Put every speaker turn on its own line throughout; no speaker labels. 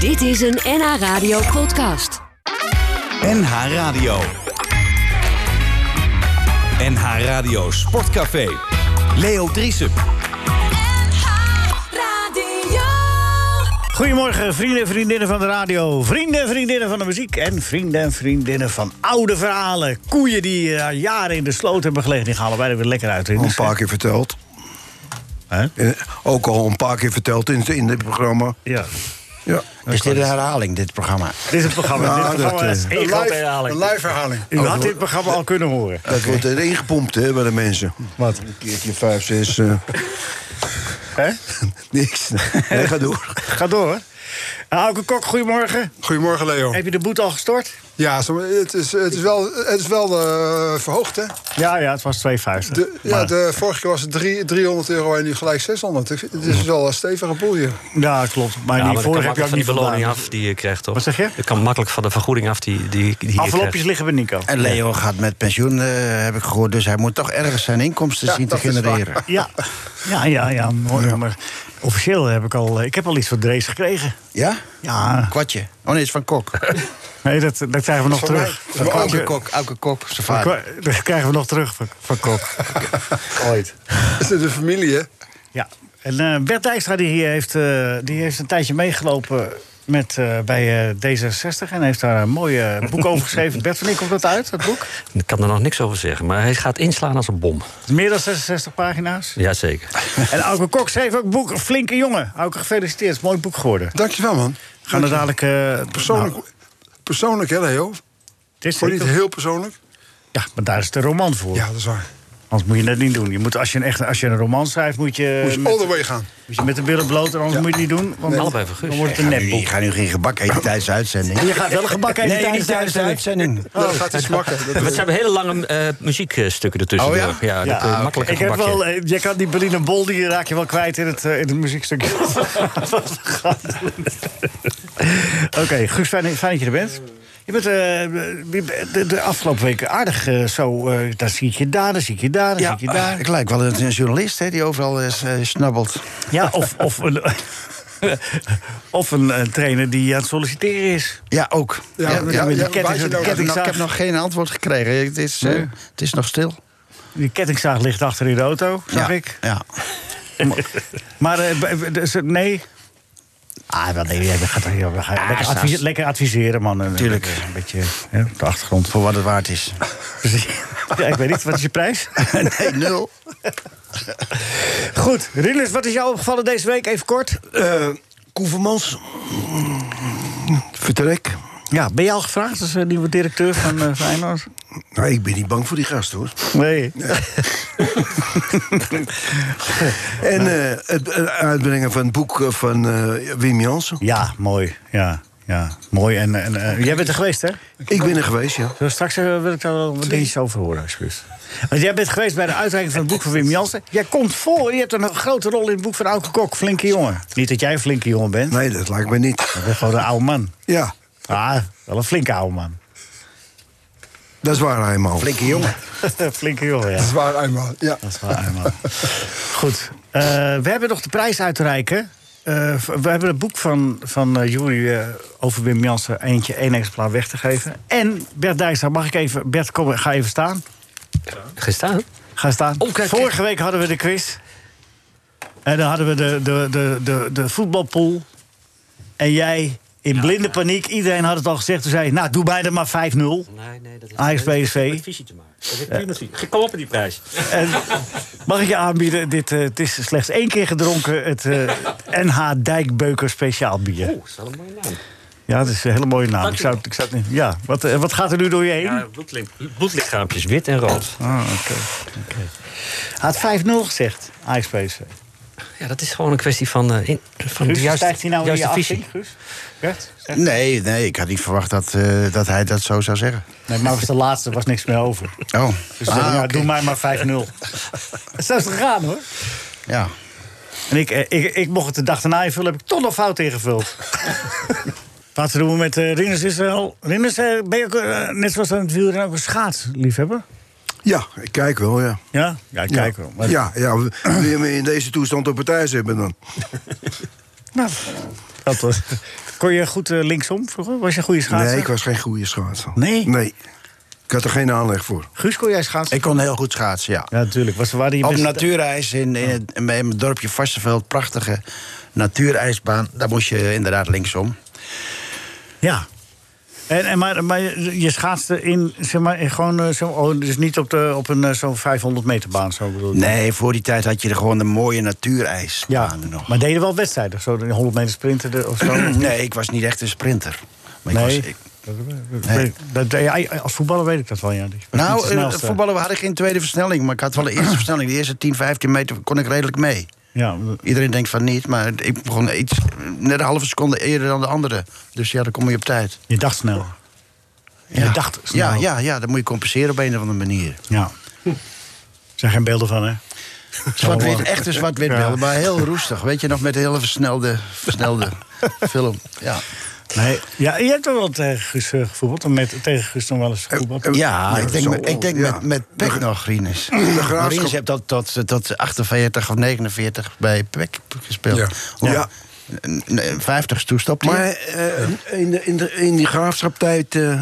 Dit is een NH Radio podcast.
NH Radio. NH Radio Sportcafé. Leo Driesen.
Radio.
Goedemorgen, vrienden en vriendinnen van de radio, vrienden en vriendinnen van de muziek en vrienden en vriendinnen van oude verhalen. Koeien die eh, al jaren in de sloot hebben gelegen, die halen wij er weer lekker uit.
Al
in.
een paar keer verteld.
Dus, eh, Hè?
Eh, Ook al een paar keer verteld in, in dit programma.
Ja.
Ja.
Is dit een herhaling, dit programma?
Dit is het programma.
Nou,
dit programma
dat,
is
eh,
één grote herhaling.
herhaling.
U had dit programma al kunnen horen.
Dat wordt erin gepompt hè, bij de mensen.
Wat?
Een keertje vijf, zes. eh,
Hè?
niks. Nee, ga door.
Ga door. Hauke Kok, goedemorgen.
Goedemorgen Leo.
Heb je de boete al gestort?
Ja, zo- het is, het is wel, het is wel eh, verhoogd, hè?
Ja, ja, het was 2,50.
De, ja,
Maar-
de vorige keer was het drie- 300 euro en nu gelijk 600. Ik- Het is wel een stevige boel hier.
Ja, klopt. Maar die
Ja, maar dat
vorige
kan
heb je
makkelijk
ook
van
niet
die beloning
voldaan.
af die je krijgt, toch?
Wat zeg je?
Dat kan makkelijk van de vergoeding af die, die, die je
Envelopjes
krijgt.
liggen bij Nico.
En Leo gaat met pensioen, eh, heb ik gehoord. Dus hij moet toch ergens zijn inkomsten zien te
dat is
genereren.
waar.
Ja, ja, ja, ja, mooi. Maar officieel heb ik al, eh, ik heb al iets voor Drees gekregen.
Ja?
Ja,
Kwartje. Oh nee, het is van Kok.
nee, dat, dat krijgen we nog terug.
Van
Dat
Auke
kwartje-
Kok. Auke Kok, zijn
dat
vader.
kwa- Dat krijgen we nog terug van, van Kok. Ooit.
Het is de familie, hè?
Ja, en eh, Bert Dijkstra die hier heeft, eh, die heeft een tijdje meegelopen met, eh, bij eh, D66... en heeft daar een mooi eh, boek over geschreven. Bert, wanneer komt dat uit, dat boek?
Ik kan er nog niks over zeggen, maar hij gaat inslaan als een bom.
Meer dan 66 pagina's.
Jazeker.
En Auke Kok schreef ook een boek, een flinke jongen. Auke, gefeliciteerd, het is een mooi boek geworden.
Dankjewel, man.
Gaan er dadelijk... eh,
Persoonlijk,
nou,
persoonlijk hè, Leo?
het is
Voor niet heel persoonlijk?
Ja, maar daar is de roman voor.
Ja, dat is waar.
Anders moet je dat niet doen. Je moet, als, je een echt, als je een roman schrijft, moet je,
Moet je
Eh, met,
all the way gaan.
moet je met de billen bloot. en Anders moet je het niet doen. Want dan,
Allebei vergust.
dan wordt het
Ik
een
ga nu- Ik
nepboek.
ga nu geen gebak eten tijdens de uitzending.
Je gaat wel een gebak eten
Nee, niet
tijdens de
tijdens de
uitzending.
uitzending.
Oh,
Dan gaat hij smakken.
En
Dat-
het zijn hele lange eh, muziekstukken ertussen.
Oh ja?
ja, dat,
Ja, Ah,
eh, makkelijk
ik heb
gebakje.
wel, eh, je kan die Berliner Bol, die raak je wel kwijt in het, eh, in het muziekstukje. Wat we gaan doen. Oké, Guus, fijn, fijn dat je er bent. Je bent eh, de, de afgelopen weken aardig eh, zo. eh dan zie ik je daar, dan zie ik je daar, dan zie ik je daar.
Ik lijk wel een journalist hè, die overal is, eh, snabbelt.
Ja, of, of een, of een, eh, trainer die aan het solliciteren is.
Ja, ook.
Ja, met-
Ja, ja,
met
ja. nou
die
Ik heb
ketting-
nog-
ketting-
Ik heb nog geen antwoord gekregen. Het is, eh, het is nog stil.
Die kettingzaag ligt achter in de auto, zag
ja.
ik.
Ja.
Maar eh, b- b- dus, eh, nee.
Ah, wel, nee,
Ja, we gaan, ja, we gaan lekker,
s'nachts.
advise- lekker adviseren, man. En,
Tuurlijk.
eh, Een beetje hè, op de achtergrond.
Voor wat het waard is.
eh, Ja, ik weet niet, wat is je prijs?
nee, nul.
Goed, Rinus, wat is jou opgevallen deze week? Even kort.
Eh Koevermans. Vertrek.
Ja, ben je al gevraagd als eh, nieuwe directeur van eh Feyenoord?
Nou, ik ben niet bang voor die gast, hoor.
Nee.
En eh, het het uitbrengen van het boek eh, van eh, Wim Jansen.
Ja, mooi. Ja, ja mooi. En, en, eh, jij bent er geweest, hè?
Ik ben er geweest, ja.
Zo, straks eh, wil ik daar wel wat dingetjes over horen, alsjeblieft. Want jij bent geweest bij de uitreiking van het boek van Wim Jansen. Jij komt voor, je hebt een grote rol in het boek van Auke Kok, Flinke Jongen. Niet dat jij een flinke jongen bent,
Nee, dat lijkt me niet.
je bent gewoon een oude man.
Ja,
Ah, wel een flinke oude man.
dat is waar helemaal.
Flinke jongen.
flinke jongen, ja.
Dat is waar, eenmaal. Ja.
Dat is waar, man. Goed. eh, we hebben nog de prijs uit te reiken. Eh, v- we hebben het boek van, van eh, Jury eh, over Wim Jansen... eentje één exemplaar weg te geven. En Bert Dijkstra, mag ik even... Bert, kom, ga even staan.
Gestaan?
Ga staan.
Oh, kijk,
Vorige week hadden we de quiz. En dan hadden we de, de, de, de, de voetbalpool. En jij in blinde paniek. Iedereen had het al gezegd. Toen zei je, nou, doe mij er maar 5-0.
Nee, nee, dat is
Ajax, PSV. met
visie te maken. Dat is prima
eh,
Kom op met die prijs.
En mag ik je aanbieden, dit, eh, het is slechts één keer gedronken... het eh, NH Dijkbeuker speciaal bier.
Oeh, dat is wel een mooie naam.
Ja, dat is een hele mooie naam.
Oh, Dank
Ik
u
zou,
wel.
ik zou, het niet- ja, wat, eh, wat gaat er nu door je heen?
Ja, bloedlink- bloedlichaampjes, wit en rood.
Ah, oké. oké. Hij had 5-0 gezegd, Ajax PSV.
Ja, dat is gewoon een kwestie van, eh, in- van de
Guus,
juiste,
stijgt hij nou weer je
juiste
afzien,
visie.
Guus? Bert?
Nee, nee, ik had niet verwacht dat, eh, dat hij dat zo zou zeggen.
Nee, maar was de laatste, was niks meer over.
Oh,
Dus
Ah,
zei, nou,
oké.
doe mij maar 5-0. Zo is het gegaan, hoor.
Ja.
En ik, eh, ik, ik mocht het de dag daarna invullen, heb ik toch nog fout ingevuld. Wat doen we met eh Rinus Israël? Rinus, eh, ben je ook, eh, net zoals aan het wielrennen, ook een schaatsliefhebber?
Ja, ik kijk wel, ja.
Ja? Ja, ik kijk
ja.
wel. Maar-
Ja, ja, we- wil je me in deze toestand op partij hebben dan?
Nou, dat was... Kon je goed eh, linksom vroeger? Was je een goede schaatser?
Nee, ik was geen goede schaatser.
Nee?
Nee. Ik had er geen aanleg voor.
Guus, kon jij schaatsen?
Ik kon heel goed schaatsen, ja.
Ja, natuurlijk. Was, waren die
Op
beste-
natuurijs in, in, het, in mijn dorpje Vastenveld, prachtige natuurijsbaan. Daar moest je inderdaad linksom.
Ja. En, en maar, maar je je schaatste in, zeg maar, in gewoon eh, zo, oh, dus niet op, de, op een eh, zo'n 500 meter baan, zo bedoel ik.
Nee, voor die tijd had je er gewoon de mooie natuurijsbaan
Ja,
nog.
maar deden wel wedstrijden, zo de 100 meter sprinten de- of zo.
nee, ik was niet echt een sprinter. Maar ik
Nee.
was, ik-
Nee. Dat, ja, als voetballer weet ik dat wel, ja. Die was niet de
nou,
snelste.
eh, voetballen we hadden geen tweede versnelling, maar ik had wel de eerste versnelling. De eerste 10, 15 meter kon ik redelijk mee.
Ja,
Iedereen denkt van niet, maar ik begon iets, net een halve seconde eerder dan de andere. Dus ja, dan kom je op tijd.
je dacht snel.
Ja.
Je dacht snel.
Ja, ja, ja, dat moet je compenseren op een of andere manier. Hm.
Ja. Er zijn geen beelden van, hè?
Zwart-wit, echt een zwart-wit beeld, maar heel roestig. Weet je nog, met de hele versnelde, versnelde film. Ja.
Nee. Ja, je hebt toch wel tegen Guus eh, gevoetbald? en Met, tegen Guus nog wel eens gevoetbald?
Ja, ik denk,
zo,
met- ik denk
ja.
met, met Peck nog, Rinus.
Graafschap-
Rinus heeft dat tot, tot 48 of 49 bij Peck gespeeld.
Ja.
Om-
Ja.
n- n- 50 is toestopte
Maar eh, in, de, in, de, in die graafschaptijd... eh,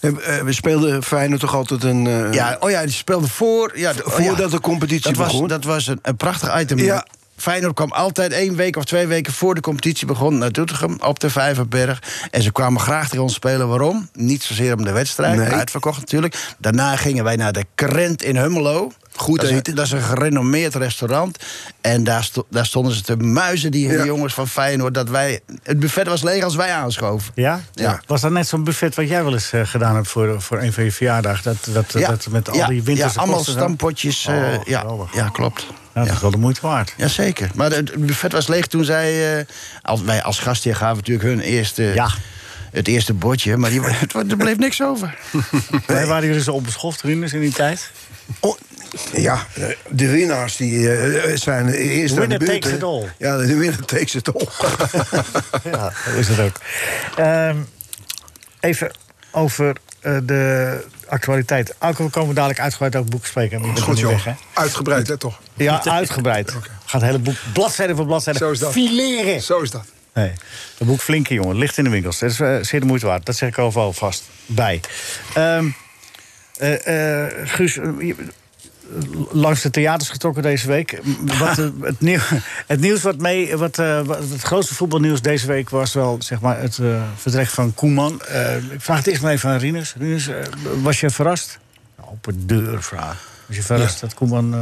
heb- eh, we speelden Feyenoord toch altijd een... eh,
ja, oh ja, die speelde voor... Ja, d- oh ja.
Voordat de competitie
dat was,
begon.
Dat was een, een prachtig item.
Ja.
Feyenoord kwam altijd één week of twee weken voor de competitie begon naar Doetinchem op de Vijverberg. En ze kwamen graag tegen ons spelen. Waarom? Niet zozeer om de wedstrijd,
Nee.
uitverkocht natuurlijk. Daarna gingen wij naar de Krent in Hummelo. Goed dat Is een, dat is een gerenommeerd restaurant. En daar, sto- daar stonden ze te muizen, die
Ja.
jongens van Feyenoord. Dat wij, het buffet was leeg als wij aanschoven.
Ja?
Ja.
Was dat net zo'n buffet wat jij wel eens eh, gedaan hebt voor, voor een van je verjaardag? Dat, dat, dat met al
ja,
die winterse
ja, allemaal
kosten zo?
stampotjes. eh,
Oh,
ja,
geweldig.
ja, klopt.
Ja, dat is wel de moeite waard.
Jazeker. Maar het buffet was leeg toen zij... eh, als, wij als gastheer gaven natuurlijk hun eerste...
Ja.
Het eerste bordje, maar die, het, er bleef niks over.
Wij waren dus jullie zo onbeschoft, Rinus, in die tijd?
Oh, ja, eh, de winnaars die, eh, zijn eerst
The
aan de
winner
beurt.
takes
hè.
it all.
Ja, de winner takes it all.
Ja, dat is het ook. Ehm, even over eh, de actualiteit. Alko, we komen dadelijk uitgebreid over boeken spreken. maar je bent
Goed,
er niet
joh.
weg,
Uitgebreid, hè, toch?
hè? Ja, uitgebreid. Gaat het hele boek bladzijde voor bladzijde
Zo is dat.
fileren.
Zo is dat.
Nee, dat boek Flinke Jongen ligt in de winkels. Dat is eh, zeer de moeite waard. Dat zeg ik overal vast bij. Ehm, eh, eh, Guus, eh, je- langs de theaters getrokken deze week. M- Wat, eh, het, nieuw, het nieuws wat mee... Wat, eh, wat- het grootste voetbalnieuws deze week was wel zeg maar, het eh, vertrek van Koeman. Eh, ik vraag het eerst maar even aan Rinus. Rinus, eh, was je verrast? Open Nou, deur vraag. Was je verrast dat Koeman... eh,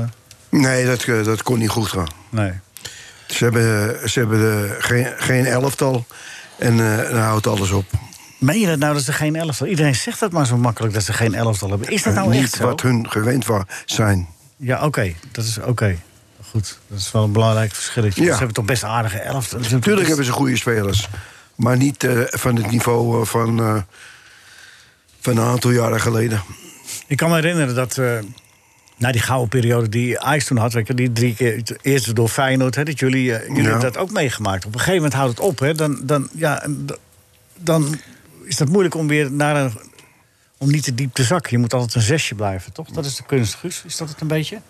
Nee, dat, eh, dat kon niet goed gaan.
nee.
Ze hebben, ze hebben eh, geen, geen elftal en eh dan houdt alles op.
Meen je dat nou dat ze geen elftal... Iedereen zegt dat maar zo makkelijk dat ze geen elftal hebben. Is dat nou
Eh, niet
echt zo?
wat hun gewend wa- zijn.
Ja, oké. Dat is oké. Goed, dat is wel een belangrijk verschilletje.
Ja.
Ze hebben toch best een aardige elf.
Natuurlijk hebben ze goede spelers, maar niet eh, van het niveau eh, van, eh, van een aantal jaren geleden.
Ik kan me herinneren dat... eh, na die gouden periode die Ajax toen had, weet je, die drie keer eerst door Feyenoord, hè, dat jullie, eh, jullie
Ja.
hebben dat ook meegemaakt. Op een gegeven moment houdt het op, hè, dan, dan, ja, en d- dan is dat moeilijk om weer naar een, om niet te diep te zakken. Je moet altijd een zesje blijven, toch? Dat is de kunst, Guus. Is dat het een beetje?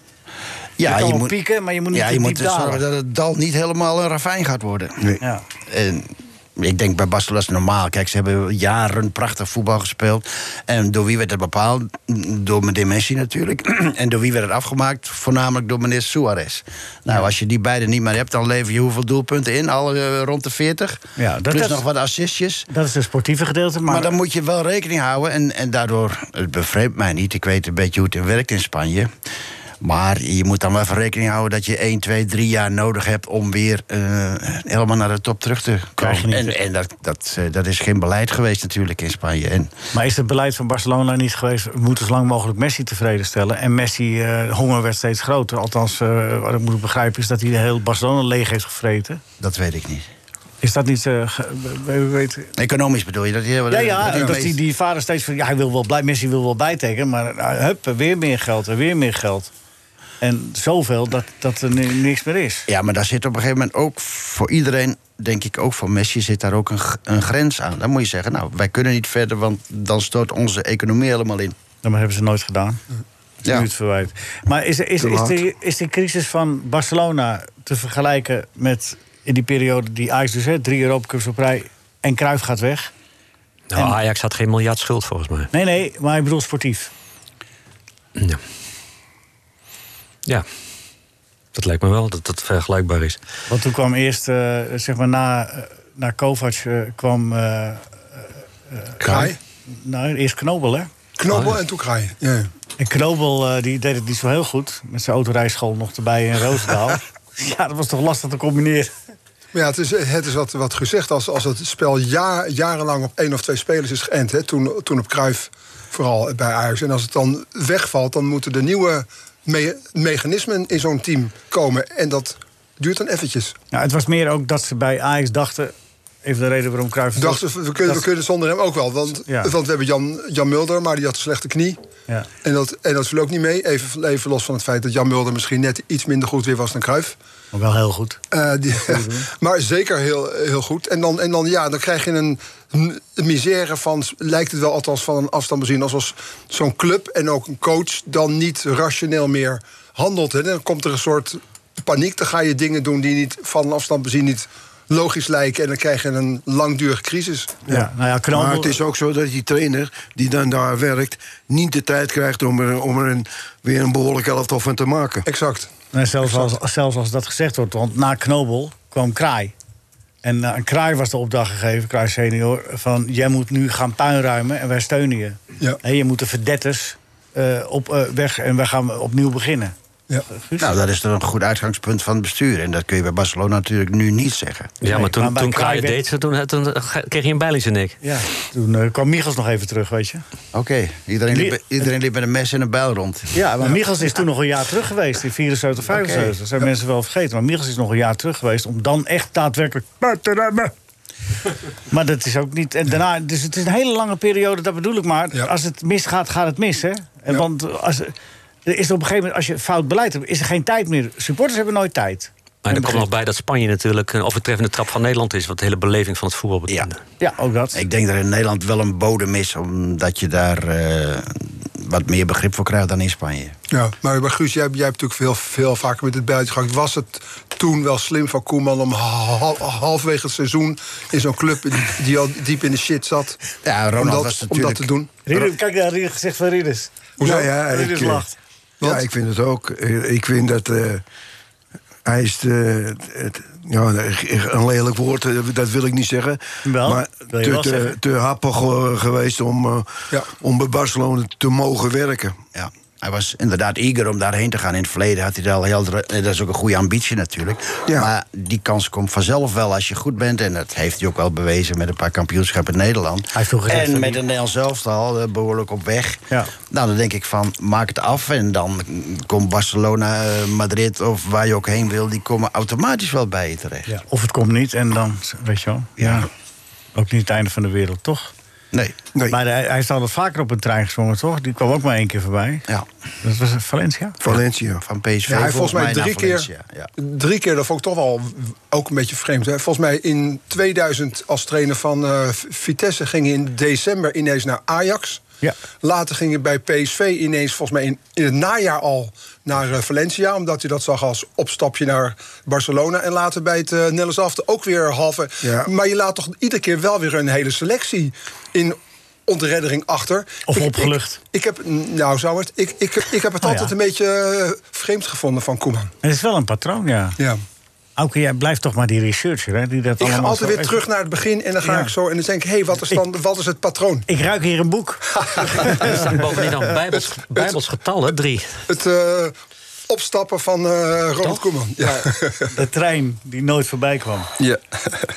Ja,
kan wel pieken, maar je moet niet
ja,
te
je
diep
moet zorgen
dalen.
dat het dal niet helemaal een ravijn gaat worden.
Nee.
Ja.
En ik denk bij Barcelona is het normaal. Kijk, ze hebben jaren prachtig voetbal gespeeld. En door wie werd het bepaald? Door meneer Messi natuurlijk. en door wie werd het afgemaakt? Voornamelijk door meneer Suarez. Nou, als je die beiden niet meer hebt, dan lever je hoeveel doelpunten in? Al eh, rond de 40.
Ja, dat
Plus
is-
nog wat assistjes.
Dat is het sportieve gedeelte, maar,
Maar, dan moet je wel rekening houden. En, en daardoor, het bevreemdt mij niet. Ik weet een beetje hoe het werkt in Spanje. Maar je moet dan wel even rekening houden dat je 1, 2, 3 jaar nodig hebt om weer eh, helemaal naar de top terug te
Krijg je
komen.
niet.
En, en dat, dat, eh, dat is geen beleid geweest natuurlijk in Spanje. En
Maar is het beleid van Barcelona niet geweest... we moeten zo lang mogelijk Messi tevreden stellen? En Messi, eh honger werd steeds groter. Althans, eh, wat ik moet begrijpen is dat hij heel Barcelona leeg heeft gevreten.
dat weet ik niet.
Is dat niet... eh, ge- we- we weten-
Economisch bedoel je dat? Je,
ja, ja,
je
dat
weet-
die, die vader steeds van... Ja, hij wil wel blij, Messi wil wel bijtekenen, maar nou, hup, weer meer geld en weer meer geld. En zoveel dat, dat er nu niks meer is.
Ja, maar daar zit op een gegeven moment ook voor iedereen, denk ik ook voor Messi, zit daar ook een, g- een grens aan. Dan moet je zeggen, nou, wij kunnen niet verder, want dan stoot onze economie helemaal in.
Dat hebben ze nooit gedaan.
Ja.
Nu het verwijt. Maar is, is, is,
laat.
die, is die crisis van Barcelona te vergelijken met in die periode die Ajax dus, hè, drie Europacups op rij en Cruijff gaat weg.
Nou, Ajax had geen miljard schuld volgens mij.
Nee, nee, maar ik bedoel sportief.
Ja. ja. Dat lijkt me wel dat dat vergelijkbaar is.
Want toen kwam eerst, eh, zeg maar, na, eh, na Kovac eh, kwam... eh,
Kraai.
nou, eerst Knobel, hè? Oh,
Knobbel en toen kraai. Oh, Ja.
En Knobel eh, die deed het niet zo heel goed. Met zijn autorijschool nog erbij in Roosendaal. ja, dat was toch lastig te combineren.
Maar ja, het is, het is wat, wat gezegd als, als het spel ja, jarenlang op één of twee spelers is geënt. Hè, toen, toen op Cruijff vooral bij Ajax. En als het dan wegvalt, dan moeten er nieuwe me- mechanismen in zo'n team komen. En dat duurt dan eventjes.
Nou, het was meer ook dat ze bij Ajax dachten... Even de reden waarom Cruijff...
Dachten we, we kunnen, we kunnen zonder hem ook wel. Want,
Ja.
want we hebben Jan, Jan Mulder, maar die had een slechte knie.
Ja.
En dat, en dat viel ook niet mee. Even, even los van het feit dat Jan Mulder misschien net iets minder goed weer was dan Cruijff.
Maar wel heel goed.
Eh, die- maar zeker heel, heel goed. En dan, en dan, ja, dan krijg je een n- misère van, lijkt het wel althans van een afstand bezien, als als zo'n club en ook een coach dan niet rationeel meer handelt. En dan komt er een soort paniek. Dan ga je dingen doen die niet van een afstand bezien niet logisch lijken. En dan krijg je een langdurige crisis.
Ja. Nou ja, Knobel...
Maar het is ook zo dat die trainer die dan daar werkt... niet de tijd krijgt om er, om er een, weer een behoorlijk elftal van te maken.
Exact.
Nee, zelfs, als, zelfs als dat gezegd wordt, want na Knobel kwam Kraai. En eh, aan Kraai was de opdracht gegeven, Kraai senior... van jij moet nu gaan puinruimen en wij steunen je.
Ja.
En je moet de verdetters eh, op, eh, weg en wij gaan opnieuw beginnen.
Ja.
Nou, dat is dan een goed uitgangspunt van het bestuur. En dat kun je bij Barcelona natuurlijk nu niet zeggen.
Ja,
Nee,
maar toen,
maar bij
toen
Kraai
Kraaien
werd-
deed ze, toen, eh, toen kreeg je een bijl in zijn nek.
Ja, toen eh, kwam Michels nog even terug, weet je.
Oké, iedereen,
Die-
liep, iedereen liep met een mes en een bijl rond.
Ja, maar Michels is toen nog een jaar terug geweest, in 74, 75. Dat zijn mensen wel vergeten. Maar Michels is nog een jaar terug geweest om dan echt daadwerkelijk buiten te remmen. Maar dat is ook niet... En daarna, dus het is een hele lange periode, dat bedoel ik maar.
Ja.
Als het misgaat, gaat het mis, hè? En
Ja.
Want als, er is op een gegeven moment, als je fout beleid hebt... is er geen tijd meer. Supporters hebben nooit tijd.
Maar er komt nog bij dat Spanje natuurlijk een overtreffende trap van Nederland is... wat de hele beleving van het voetbal betekent.
Ja.
Ja, ook dat.
Ik denk dat er in Nederland wel een bodem is, omdat je daar eh, wat meer begrip voor krijgt dan in Spanje.
Ja, maar, maar Guus, jij, jij hebt natuurlijk veel, veel vaker met het buiten gehakt. Was het toen wel slim van Koeman om hal- halverwege het seizoen in zo'n club die- die al diep in de shit zat?
Ja, Ronald
om dat,
was
om dat
natuurlijk-
te doen.
Rieders- kijk naar het gezicht van Rieders.
Hoezo?
Nou ja,
Rieders
ik, eh,
lacht.
ja, ik vind het ook. Eh, Ik vind dat. eh, hij is. eh, het- ja, een lelijk woord, eh, dat wil ik niet zeggen.
Wel,
maar
wil je
te,
wel
te-
zeggen.
te happig eh, geweest om, eh,
Ja.
om bij Barcelona te mogen werken.
Ja. Hij was inderdaad eager om daarheen te gaan. In het verleden had hij daar al heel... dra- eh, Dat is ook een goede ambitie natuurlijk.
Ja.
Maar die kans komt vanzelf wel als je goed bent. En dat heeft hij ook wel bewezen met een paar kampioenschappen in Nederland.
Hij heeft toen gezegd
en
van
met
die-
een Nederlands elftal eh, behoorlijk op weg.
Ja.
Nou, dan denk ik van, maak het af. En dan komt Barcelona, eh, Madrid of waar je ook heen wil... die komen automatisch wel bij je terecht.
Ja, of het komt niet en dan, weet je wel. Ja. Ook niet het einde van de wereld, toch?
Nee.
Nee,
Maar hij, hij is al wat vaker op een trein gesprongen, toch? Die kwam ook maar één keer voorbij.
Ja,
Dat was Valencia.
Valencia.
van PSV
Ja, hij heeft volgens mij
naar
drie keer,
Valencia, Ja.
drie keer, dat vond ik toch wel w- ook een beetje vreemd. Hè? Volgens mij in 2000 als trainer van eh, V- Vitesse ging hij in december ineens naar Ajax.
Ja.
Later ging hij bij PSV ineens volgens mij in, in het najaar al naar eh, Valencia. Omdat hij dat zag als opstapje naar Barcelona. En later bij het eh Nederlands Elftal ook weer halve.
Ja.
Maar je laat toch iedere keer wel weer een hele selectie in ontreddering achter.
Of opgelucht.
Ik, ik heb, nou zou het, ik, ik, ik heb het
Oh, ja.
altijd een beetje eh, vreemd gevonden van Koeman.
Het is wel een patroon, ja.
Ja.
Auke, jij blijft toch maar die researcher, hè? Die dat
Ik ga
allemaal
altijd
zo-
weer terug naar het begin en dan ga
Ja.
ik zo en dan denk ik, hé, wat is dan, wat is het patroon?
Ik ruik hier een boek.
Er staan bovendien nog bijbels, bijbels getallen, drie.
Het eh, opstappen van eh Ronald Koeman. Ja.
De trein die nooit voorbij kwam.
Ja.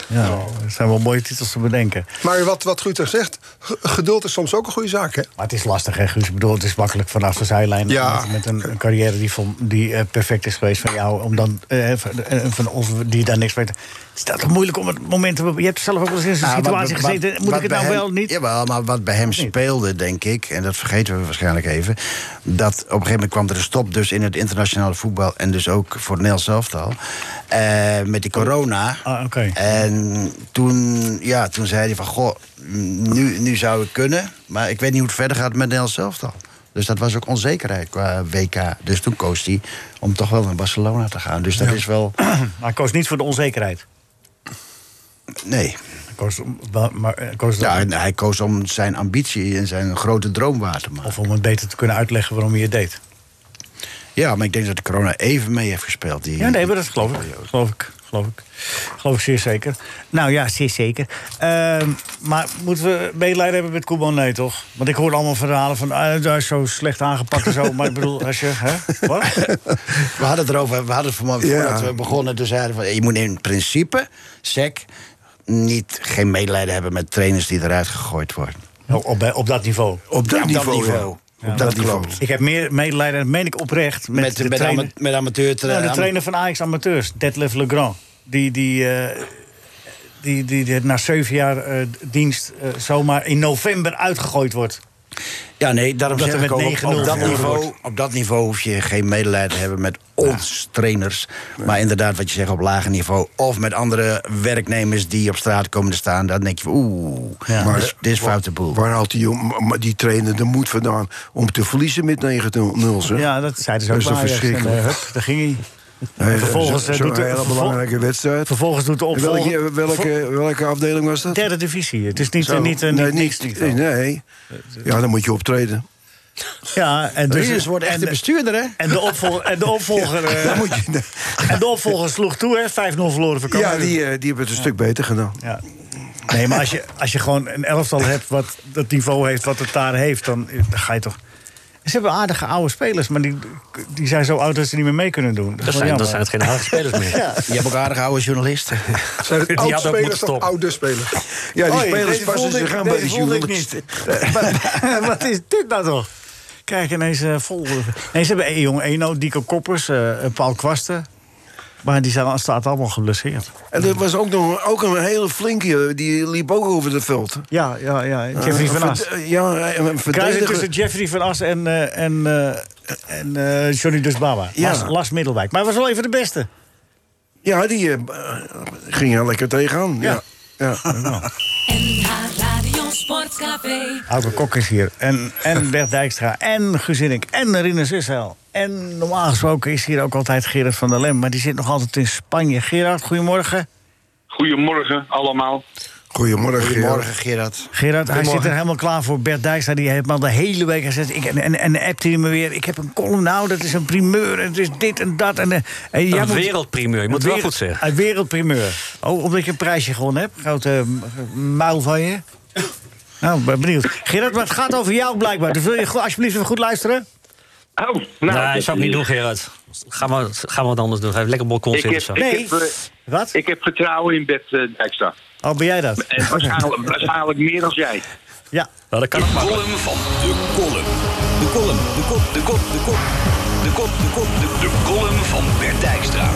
Ja, dat zijn wel mooie titels te bedenken.
Maar wat, wat Guter zegt, g- geduld is soms ook een goede zaak, hè?
Maar het is lastig, hè, Guus? Ik bedoel, het is makkelijk vanaf de zijlijn...
Ja.
met, met een, een carrière die, vol- die eh, perfect is geweest van jou... Om dan, eh, van, eh, van, of die daar niks mee te... Het is dat toch moeilijk om het moment te... Je hebt zelf ook wel eens in zo'n
Ah,
Ja, Ah, wat-
situatie
wat-
gezeten. Moet
wat
ik het
bij
nou
hem-
wel niet?
Jawel, maar wat bij hem speelde, denk ik, en dat vergeten we waarschijnlijk even... dat op een gegeven moment kwam er een stop dus in het internationale voetbal... en dus ook voor het Nederlands elftal, eh, met die corona.
Ah, oké.
En toen, ja, toen zei hij van, goh, nu, nu zou het kunnen... maar ik weet niet hoe het verder gaat met het Nederlands elftal. Dus dat was ook onzekerheid qua WK. Dus toen koos hij om toch wel naar Barcelona te gaan. Dus dat is wel...
Maar ik koos niet voor de onzekerheid.
Nee.
Hij koos, om- wa- maar, hij koos
Ja,
er-
en hij koos om zijn ambitie en zijn grote droom waar te maken.
Of om het beter te kunnen uitleggen waarom hij het deed.
Ja, maar ik denk dat de corona even mee heeft gespeeld. Die,
Ja, nee, maar dat geloof ik. Geloof ik. Geloof ik. Geloof ik zeer zeker. Nou ja, zeer zeker. Ehm, maar moeten we medelijden hebben met Koeman? Nee, toch? Want ik hoor allemaal verhalen van... ah, hij is zo slecht aangepakt en zo. Maar ik bedoel, als je... Hè? Wat?
We hadden het erover, we hadden het vanmorgen
Ja.
voordat we begonnen. Toen zeiden we, van, je moet in principe, SEC, niet, geen medelijden hebben met trainers die eruit gegooid worden.
Nou, op, bij- op dat niveau.
Op dat
Ja, op dat
niveau, ja.
niveau. Ja,
Op
dat
dat niveau.
klopt.
Ik heb meer medelijden, dat meen ik oprecht... met,
Met,
de,
met, met,
trainer,
ama- met amateur tra-
nou, de
am-
trainer van Ajax Amateurs, Detlef Legrand. Die, die, eh, die, die, die na zeven jaar eh, dienst eh, zomaar in november uitgegooid wordt.
Ja, nee, daarom
Omdat
zeg
er
ik
met
ook, op,
9-0
dat
verloren
niveau, op dat niveau hoef je geen medelijden te hebben met ons trainers. Maar inderdaad, wat je zegt, op lager niveau. Of met andere werknemers die op straat komen te staan. Dan denk je, van, oeh,
Ja.
dit is- dit is foute boel.
Waar haalt die, jong- maar die trainer de moed vandaan om te verliezen met 9-0? zeg?
Ja, dat zeiden ze ook
Dat is toch
bij Ajax.
verschrikkelijk?
En, eh, hup, daar ging hij.
Hey,
vervolgens,
zo-
eh,
Zo'n
doet de-
hele
vervol-
belangrijke wedstrijd.
Vervolgens doet de
En
opvolger...
Welke, welke, welke afdeling was dat?
Derde divisie. Het is niet,
Zo.
niet, eh, niet,
nee,
niks.
niet- nee, nee. Ja, dan moet je optreden.
Ja, en dus...
Rinus wordt echt
en
de
de-
bestuurder, hè?
en de, opvolger, en, de opvolger, eh,
Dan moet je,
en de opvolger sloeg toe, hè? 5-0 verloren voor
ja,
Cambuur.
die, eh, die hebben het een stuk beter gedaan.
Ja. Nee, maar als je, als je gewoon een elftal hebt wat dat niveau heeft wat het daar heeft, dan, eh, dan ga je toch... Ze hebben aardige oude spelers, maar die, die zijn zo oud dat ze niet meer mee kunnen doen. Dat
Dat
is wel
zijn, dat
jammer.
zijn het geen aardige spelers meer.
Je hebt ook aardige oude journalisten.
Zijn het
hadden ook
oud-spelers
moeten
of
stoppen.
oude-spelers?
Ja, die
Oei,
spelers
deze
passen
voelde
zich
ik-
aan bij
deze
die
voelde ik
journalisten.
niet. Wat- Wat is dit nou toch? Kijk, ineens eh vol. Nee, ze hebben eh, jong Eno, Dico Koppers, eh, Paul Kwasten. Maar die zijn, staat allemaal geblesseerd.
En er was ook nog ook een hele flinke, die liep ook over het veld.
Ja, ja, ja. Jeffrey
Eh,
van
een
As.
verd- Ja, een
Kruising tussen
verdediger.
Jeffrey van As en, eh, en, eh, en eh, Johnny Dusbaba.
Ja.
Las, Las Middelwijk. Maar hij was wel even de beste.
Ja, die eh, ging er lekker tegenaan. Ja. Ja.
Nou,
NH Radio Sportcafé.
Auto Kok is hier. En, en Bert Dijkstra. En Guzinnik. En Rinus Israël. En normaal gesproken is hier ook altijd Gerard van der Lem. Maar die zit nog altijd in Spanje. Gerard, goedemorgen.
Goedemorgen allemaal.
Goedemorgen.
Goedemorgen, Gerard.
Gerard, hij zit er helemaal klaar voor. Bert Dijkstra die heeft me al de hele week gezegd... Ik, en, en, en appte hij me weer, ik heb een column nou, dat is een primeur... en het is dit en dat. En, eh, en jij
Een
moet-
wereldprimeur, je moet
Een
het wel
wereld-
goed zeggen.
Een wereldprimeur. Oh, omdat je een prijsje gewonnen hebt. Grote eh, muil van je. Nou, ben benieuwd. Gerard, maar het gaat over jou blijkbaar. Dus wil je go- alsjeblieft even goed luisteren?
Oh, nou,
nee,
dat-
zou ik niet doen, Gerard. Ga maar, ga maar wat anders doen. Ga even lekker op het balkon
Ik
zitten
heb,
of zo.
ik,
Nee.
heb, eh,
Wat?
ik heb vertrouwen in Bert eh, Dijkstra.
Oh, ben jij dat?
En waarschijnlijk, waarschijnlijk meer dan jij.
Ja.
Nou, dat kan ook makkelijk.
Column van de column. De column, de kop, de kop, de kop. De kop, de kop, de De column van Bert Dijkstra.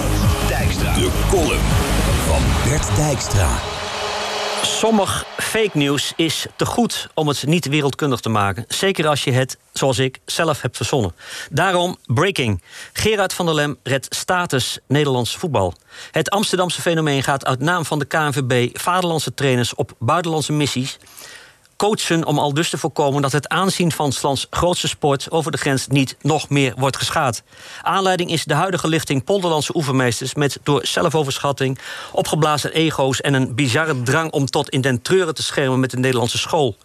Dijkstra. De column van Bert Dijkstra.
Sommig fake nieuws is te goed om het niet wereldkundig te maken. Zeker als je het, zoals ik, zelf hebt verzonnen. Daarom breaking. Gerard van der Lem redt status Nederlands voetbal. Het Amsterdamse fenomeen gaat uit naam van de KNVB... vaderlandse trainers op buitenlandse missies coachen om al dus te voorkomen dat het aanzien van s lands grootste sport over de grens niet nog meer wordt geschaad. Aanleiding is de huidige lichting Polderlandse oefenmeesters met door zelfoverschatting, opgeblazen ego's en een bizarre drang om tot in den treuren te schermen met de Nederlandse school.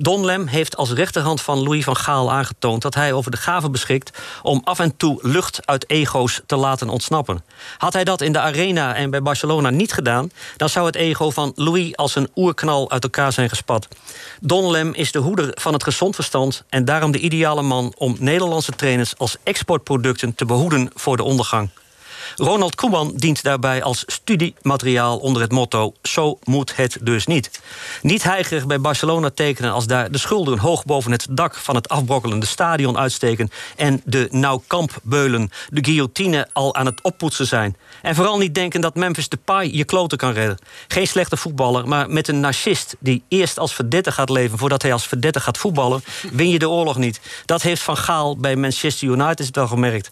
Don Lem heeft als rechterhand van Louis van Gaal aangetoond dat hij over de gave beschikt om af en toe lucht uit ego's te laten ontsnappen. Had hij dat in de arena en bij Barcelona niet gedaan, dan zou het ego van Louis als een oerknal uit elkaar zijn gespat. Don Lem is de hoeder van het gezond verstand en daarom de ideale man om Nederlandse trainers als exportproducten te behoeden voor de ondergang. Ronald Koeman dient daarbij als studiemateriaal onder het motto: Zo moet het dus niet. Niet heigerig bij Barcelona tekenen als daar de schulden hoog boven het dak van het afbrokkelende stadion uitsteken en de nauwkampbeulen, de guillotine, al aan het oppoetsen zijn. En vooral niet denken dat Memphis Depay je kloten kan redden. Geen slechte voetballer, maar met een narcist die eerst als verdette gaat leven voordat hij als verdette gaat voetballen, win je de oorlog niet. Dat heeft Van Gaal bij Manchester United wel gemerkt.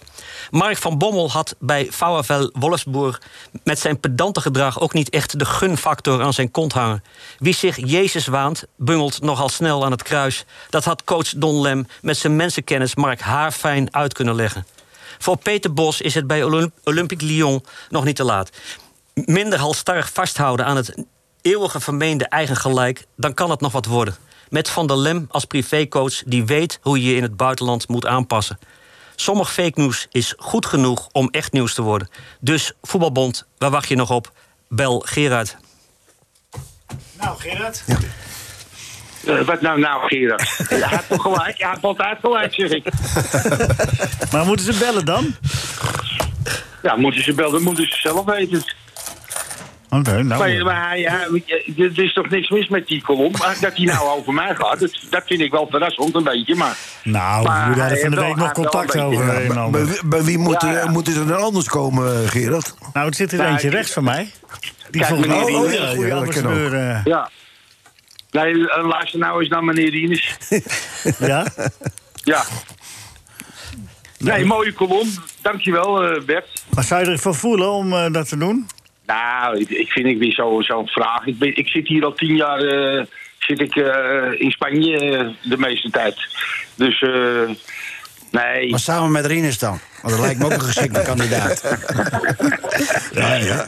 Mark van Bommel had bij VfL Wolfsburg met zijn pedante gedrag ook niet echt de gunfactor aan zijn kont hangen. Wie zich Jezus waant, bungelt nogal snel aan het kruis. Dat had coach Don Lem met zijn mensenkennis Mark haarfijn uit kunnen leggen. Voor Peter Bos is het bij Olymp- Olympique Lyon nog niet te laat. Minder halstarrig vasthouden aan het eeuwige vermeende eigen gelijk, dan kan het nog wat worden. Met Van der Lem als privécoach die weet hoe je je in het buitenland moet aanpassen. Sommig fake news is goed genoeg om echt nieuws te worden. Dus voetbalbond, waar wacht je nog op? Bel Gerard.
Nou, Gerard.
Eh, wat nou, nou, Gerard? Hij had toch gelijk? Hij had altijd gelijk, zeg ik.
Maar moeten ze bellen dan?
Ja, moeten ze bellen, moeten ze zelf weten.
Oké, nou.
Maar, maar hij, hij- eh, er is toch niks mis met die kolom? Maar Dat hij nou over mij gaat, dat, dat vind ik wel verrassend een beetje. Maar
Nou,
Maar
we hadden
hij
van de
heeft
week
wel-
nog
hij heeft wel
contact
een beetje-
over. eh, een en
Bij,
ander.
bij wie- bij wie moet,
Ja,
er-
ja.
moet er dan anders komen, eh, Gerard?
Nou, het zit er
Nou,
eentje
ik-
rechts van mij. Die
Kijk,
volgens mij
meneer,
ook
oh,
een
ja,
goede
ja, dat kan ook.
ambassadeur, eh,
ja. Nee, eh, luister nou eens naar meneer Ines.
Ja?
Ja. Nee, mooie kolom. Dankjewel, eh, Bert.
Maar zou je ervoor voelen om eh, dat te doen?
Nou, ik, ik vind ik weer zo- zo'n vraag. Ik, ben, ik zit hier al tien jaar eh, zit ik, eh, in Spanje eh, de meeste tijd. Dus eh, nee.
Maar samen met Rinus dan. Want dat lijkt me ook een geschikte kandidaat.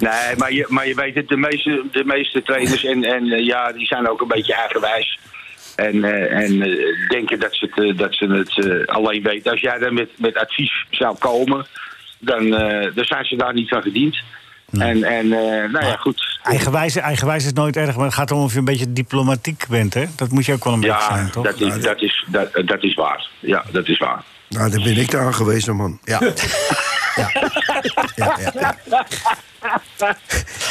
Nee, maar je, maar je weet het, de meeste, de meeste trainers en, en eh, ja, die zijn ook een beetje eigenwijs. En, eh, en eh, denken dat ze het, eh, dat ze het eh, alleen weten. Als jij daar met, met advies zou komen, dan, eh, dan zijn ze daar niet van gediend. En, en eh, nou ja, goed.
Eigenwijs, eigenwijs is nooit erg, maar het gaat om of je een beetje diplomatiek bent, hè? Dat moet je ook wel een beetje
Ja,
zijn, toch?
dat is, dat, is, dat, dat is waar. Ja, dat is waar.
Nou, daar ben ik daar aangewezen, man.
Ja. Ja, ja, ja.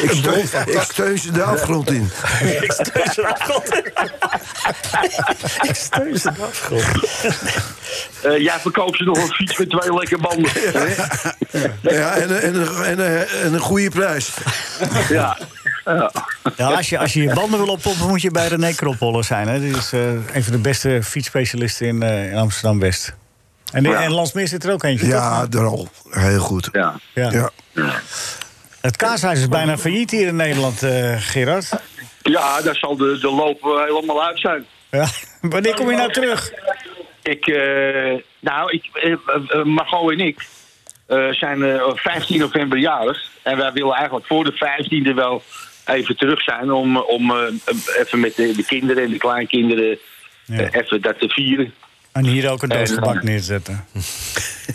Ik steun, ik steun ze de afgrond in.
Ik steun ze afgrond. Ik steun ze afgrond.
Eh, jij verkoopt ze nog een fiets met twee lekker banden.
Ja, en, een- en, een- en, een- en een goede prijs.
ja. ja.
Ja, als, je, als je je banden wil oppompen, moet je bij René Kropholler zijn. Hè? Dit is eh, een van de beste fietsspecialisten in, eh, in Amsterdam-West. En, in
Ja.
en Lansmeer zit er ook eentje, toch?
Ja, daar al. Heel goed.
ja.
Ja.
Ja.
Het kaashuis is bijna failliet hier in Nederland, eh, Gerard.
ja, daar zal de, de loop eh, helemaal uit zijn.
Ja. Wanneer kom je nou terug?
Ik, eh, nou, ik, eh, eh, Margot en ik eh, zijn eh, 15 november jarig. En wij willen eigenlijk voor de 15e wel even terug zijn om, om eh, even met de, de kinderen en de kleinkinderen eh,
Ja.
even dat te vieren.
En hier ook een doos
Eh,
gebak neerzetten.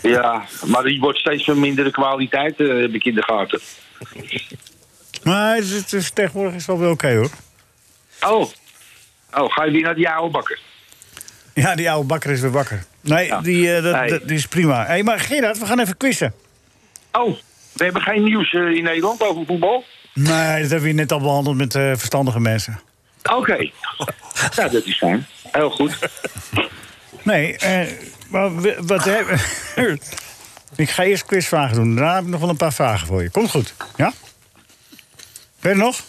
Ja, maar die wordt steeds van mindere kwaliteit, eh, heb ik in de gaten.
Maar het is, het is- tegenwoordig is het wel weer oké, hoor.
Oh. oh, ga je weer naar die oude bakken?
Ja, die oude bakker is weer wakker. Nee,
Ja.
die, eh, dat,
Hey.
dat- die is prima. Hey, maar Gerard, we gaan even quizzen.
Oh, we hebben geen nieuws eh, in Nederland over voetbal?
Nee, dat hebben we net al behandeld met eh, verstandige mensen.
Oké. Nou, dat is fijn. Heel goed.
Nee, eh, maar we- wat hebben... ik ga eerst quizvragen doen. Daarna heb ik nog wel een paar vragen voor je. Komt goed, ja? Ben je er nog?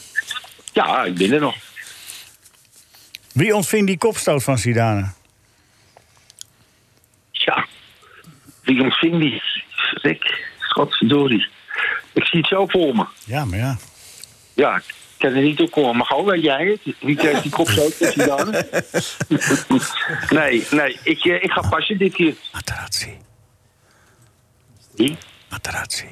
Ja, ik ben er nog.
Wie ontving die kopstoot van Zidane?
Ja, wie ontving die? Rick, godverdorie. Ik zie het zo voor me.
Ja, maar ja.
Ja, ik kan er niet op komen. Maar gewoon, weet jij het? Wie krijgt die kop zo? Is die dan? nee, nee, ik, eh, ik ga passen dit keer.
Materazzi,
Wie?
Materazzi,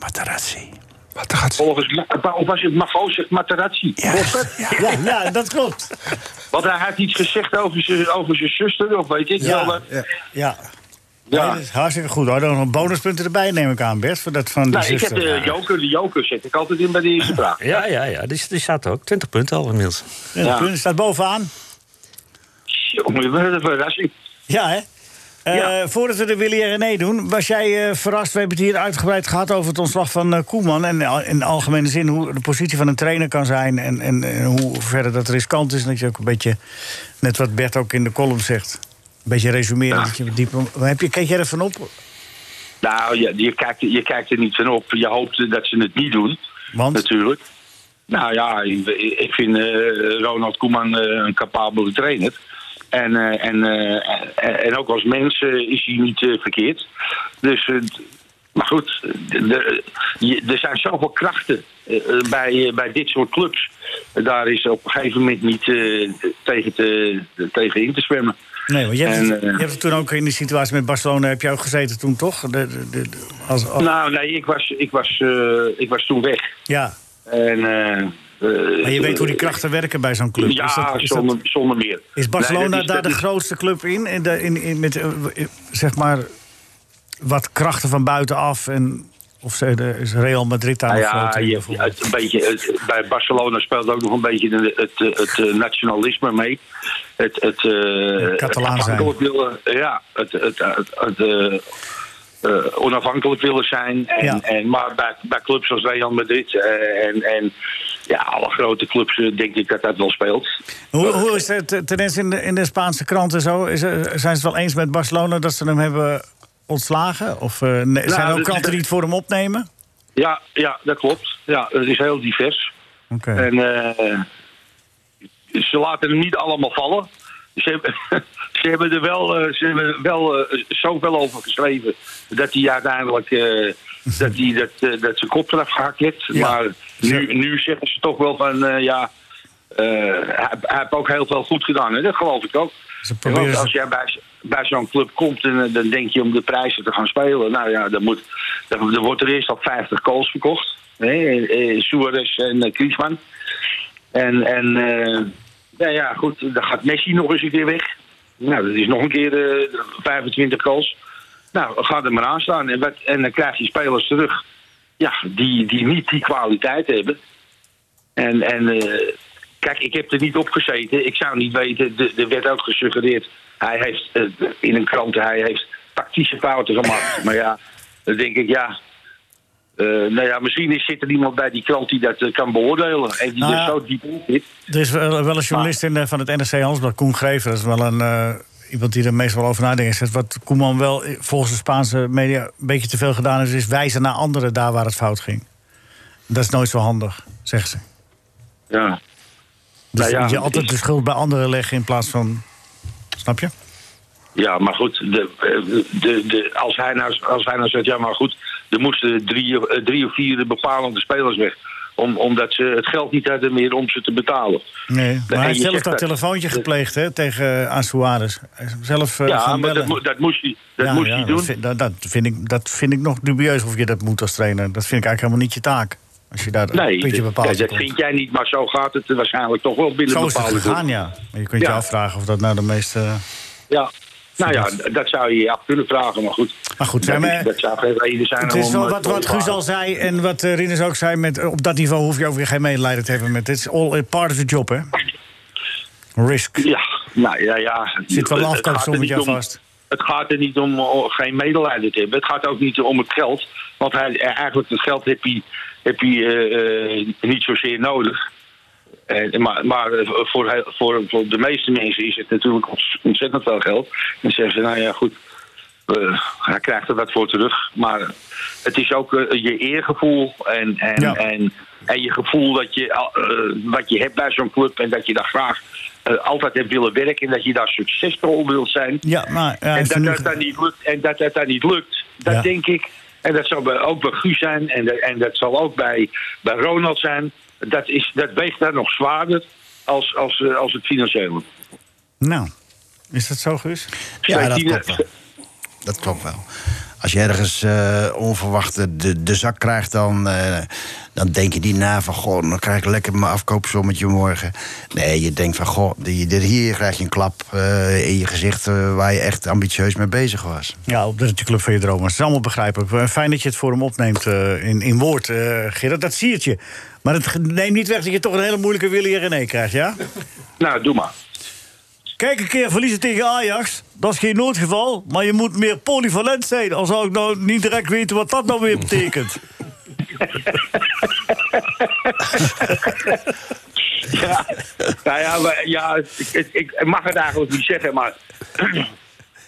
Materazzi.
Wat gaat
Volgens Ma- of was het Mavo zegt Materazzi. Klopt het?
Ja, ja, dat klopt.
Want hij had iets gezegd over zijn over zijn zuster, of weet ik
Ja.
wel. eh,
Ja, Nee,
Ja.
dat is hartstikke goed. Hoor. Dan nog bonuspunten erbij neem ik aan, Bert. Voor dat van de
Nee, Nou, ik heb eh,
zuster.
de joker, de joker zet ik altijd in bij de eerste vraag.
Ja, ja, ja. Dus Die, die staat er ook. 20 punten al inmiddels.
Ja, dat
Ja.
punt staat bovenaan.
Jongen, wat een verrassing.
Ja, hè? Eh,
Ja.
Voordat we de Willy en René doen, was jij eh, verrast? We hebben het hier uitgebreid gehad over het ontslag van eh, Koeman. En al- in algemene zin hoe de positie van een trainer kan zijn. En, en, en hoe verder dat riskant is. En dat je ook een beetje, net wat Bert ook in de column zegt. Een beetje resumeren.
Ja.
Dat je wat dieper, heb je, kijk jij ervan op?
Nou, je, je, kijkt, je kijkt er niet van op. Je hoopt eh, dat ze het niet doen,
Want,
natuurlijk. Nou ja, ik, ik vind eh, Ronald Koeman eh, een capabele trainer. En, eh, en, eh, en, en ook als mens eh, is hij niet eh, verkeerd. Dus, eh, maar goed, de- de- je- er zijn zoveel krachten eh, eh, bij, eh, bij dit soort clubs. Daar is op een gegeven moment niet eh, tegen, te, tegen in te zwemmen.
nee, want je hebt,
En,
het,
eh,
je hebt het toen ook in die situatie met Barcelona... heb je ook gezeten toen, toch? De, de- de- als, als-
Nou, nee, ik was, ik was, eh, ik was toen weg.
ja,
En eh,
Maar je weet hoe die krachten werken bij zo'n club.
Ja,
Is dat- is dat-
zonder, zonder meer.
Is Barcelona
Nee, dat
daar
dat
de grootste club in? in, de- in, in met eh, w- eh, zeg maar wat krachten van buitenaf en of ze, de- is Real Madrid daar
Nou
nog groot
ja,
in?
je-
bijvoorbeeld?
het, een beetje, het- bij Barcelona speelt ook nog een beetje de- het, eh, het, eh, nationalisme mee. Het, het, eh, het
Catalaan zijn.
afhankelijk willen, ja, het, het, het, het, eh, eh, onafhankelijk willen zijn. En,
Ja.
en, maar bij, bij clubs als Real Madrid eh, en, en ja, alle grote clubs eh, denk ik dat dat wel speelt.
Hoe, hoe is de de tendens in de, in de Spaanse kranten zo? Is, er- zijn ze het wel eens met Barcelona dat ze hem hebben ontslagen? Of eh, nee, zijn er ook
Nou, dat-
kranten
dat-
die het voor hem opnemen?
Ja, ja dat klopt. Ja, het is heel divers.
Oké.
En eh, ze laten hem niet allemaal vallen. Ze hebben, ze hebben er wel, eh, ze hebben er wel eh, zoveel over geschreven dat hij uiteindelijk eh, dat, hij dat, eh, dat zijn kop eraf gehakt heeft.
Ja.
Maar nu, nu zeggen ze toch wel van eh, ja, eh, hij, hij heeft ook heel veel goed gedaan. Hè? Dat geloof ik ook.
Ze proberen
Want
ze-
als jij bij, bij zo'n club komt en eh, dan denk je om de prijzen te gaan spelen. Nou ja, dan, moet, dan, dan wordt er eerst al 50 goals verkocht. Hè? Eh, Suarez en eh, Griezmann. En, en eh, nou ja, goed, dan gaat Messi nog eens een keer weg. Nou, dat is nog een keer eh, 25 goals. Nou, ga er maar aan staan. En, wat, en dan krijg je spelers terug ja, die, die niet die kwaliteit hebben. En, en eh, kijk, ik heb er niet op gezeten. Ik zou niet weten, de- er werd ook gesuggereerd... hij heeft eh, in een krant, hij heeft tactische fouten gemaakt. maar ja, dan denk ik, ja... eh, nou ja, misschien is, zit er iemand bij die krant die dat eh, kan beoordelen. En die
Nou
er
ja.
zo diep in zit.
Er is wel, wel een journalist in, eh, van het NRC Hansblad, Koen Grever. Dat is wel een, eh, iemand die er meestal over nadenkt. Zegt wat Koeman wel eh, volgens de Spaanse media een beetje te veel gedaan heeft... is wijzen naar anderen daar waar het fout ging. Dat is nooit zo handig, zegt ze.
Ja.
Dus
Nou ja,
moet je altijd
ik-
de schuld bij anderen leggen in plaats van... Snap je?
Ja, maar goed, de, eh, de, de, als, hij nou, als hij nou zegt, ja maar goed, er moesten drie, of- eh, drie of vier de bepalende spelers weg. Om, omdat ze het geld niet hadden meer om ze te betalen.
Nee, maar
en
hij
je
heeft zelf
zegt
dat
dat-
telefoontje gepleegd hè, tegen eh, Aan Suarez. Hij is hem zelf eh,
ja,
gaan
maar dat,
bellen.
mo- dat moest hij, dat
Ja,
moest
ja,
hij
Dat
doen.
vind, dat, dat vind ik, dat vind ik nog dubieus of je dat moet als trainer. Dat vind ik eigenlijk helemaal niet je taak. Als je daar een
Nee,
puntje
dat,
bepaalt.
nee, dat vind jij niet, maar zo gaat het waarschijnlijk toch wel binnen
Zo is het
bepaalde
gegaan,
groep.
ja. Maar je kunt je
Ja.
afvragen of dat nou de meeste...
Ja. Nou ja, d- dat zou je je af kunnen vragen, maar goed.
Maar goed,
dat,
ja, maar-
is- dat zou geen reden zijn
Het is
om,
wel
eh,
wat,
te
wat Guus
bepalen.
al zei en wat eh, Rinus ook zei. Met, eh, op dat niveau hoef je ook weer geen medelijden te hebben met. Dit is all eh, part of the job, hè? Risk.
Ja, nou ja, ja.
Zit wel een
Het- het
afkoopsommetje
gaat er niet om-
vast.
Het gaat er niet om oh, geen medelijden te hebben. Het gaat ook niet om het geld. Want hij, eh, eigenlijk het geld heb je, heb je eh, eh, niet zozeer nodig. Eh, maar maar eh, voor, heel- voor, voor de meeste mensen is het natuurlijk ontzettend veel geld. Dan zeggen ze, nou ja, goed. eh, hij krijgt er wat voor terug. Maar het is ook eh, je eergevoel en, en,
Ja.
en, en je gevoel dat je, al- eh, wat je hebt bij zo'n club en dat je daar graag eh, altijd hebt willen werken en dat je daar succesvol wilt zijn.
Ja, maar... ja, hij
en,
heeft
dat,
er nu
dat,
ge-
dat niet lukt, en dat dat dan niet lukt, dat
Ja.
denk ik. En dat zal bij, ook bij Guus zijn en, dat- en dat zal ook bij, bij Ronald zijn. Dat, is, dat weegt daar nog zwaarder als, als, eh, als het financiële.
Nou, is dat zo, Guus?
Ja, dat
Zij zien
klopt wel. Dat klopt wel. Als je ergens eh, onverwacht de, de zak krijgt, dan, eh, dan denk je niet na van... goh, dan krijg ik lekker mijn afkoopsommetje morgen. Nee, je denkt van, goh, die, die- hier krijg je een klap eh, in je gezicht... eh, waar je echt ambitieus mee bezig was.
Ja, op de club van je dromen. Het is allemaal begrijpelijk. Eh, Fijn dat je het voor hem opneemt eh, in, in woord, eh Gerard. Dat zie het je. Maar het ge- neemt niet weg dat je toch een hele moeilijke Willy René krijgt, ja?
Nou, doe maar.
Kijk een keer verliezen tegen Ajax. Dat is geen noodgeval, maar je moet meer polyvalent zijn. Al zou ik nou niet direct weten wat dat nou weer betekent.
Ja, nou ja, maar, ja ik, ik, ik mag het eigenlijk niet zeggen, maar...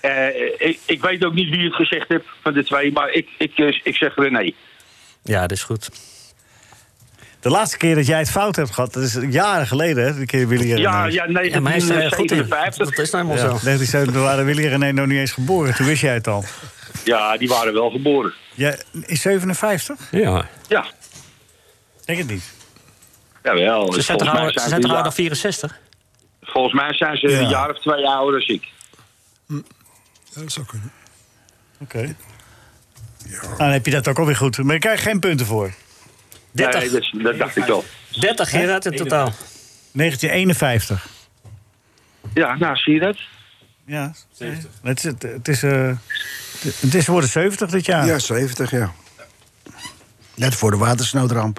eh, ik, ik weet ook niet wie het gezegd heeft van de twee, maar ik, ik, eh, ik zeg René.
Ja, dat is goed.
De laatste keer dat jij het fout hebt gehad, dat is jaren geleden, hè? De keer Willy René.
Ja, eh, ja,
Ja, maar hij is er goed in.
1957.
Dat is nou
nou, Ja,
helemaal zo.
1970 waren Willy René nog niet eens geboren. Toen wist jij het al.
Ja, die waren wel geboren.
Ja, in 57?
Ja.
Ja,
Denk het niet.
jawel.
Ze zijn
Volgens
toch
mij
ouder- ze zijn
een
toch ouder
jaar-
dan 64?
Volgens mij zijn ze
Ja.
een jaar of twee ouder dan ik.
Ja, dat zou kunnen.
Oké. Nou, dan heb je dat ook alweer goed. Maar je krijgt geen punten voor.
Nee, dat, dat dacht ik wel.
30 Gerard in totaal.
1951.
Ja, nou zie je dat?
Ja. Het is, het, het is, eh, het is worden 70 dit jaar.
Ja, 70, ja.
Net voor de watersnoodramp.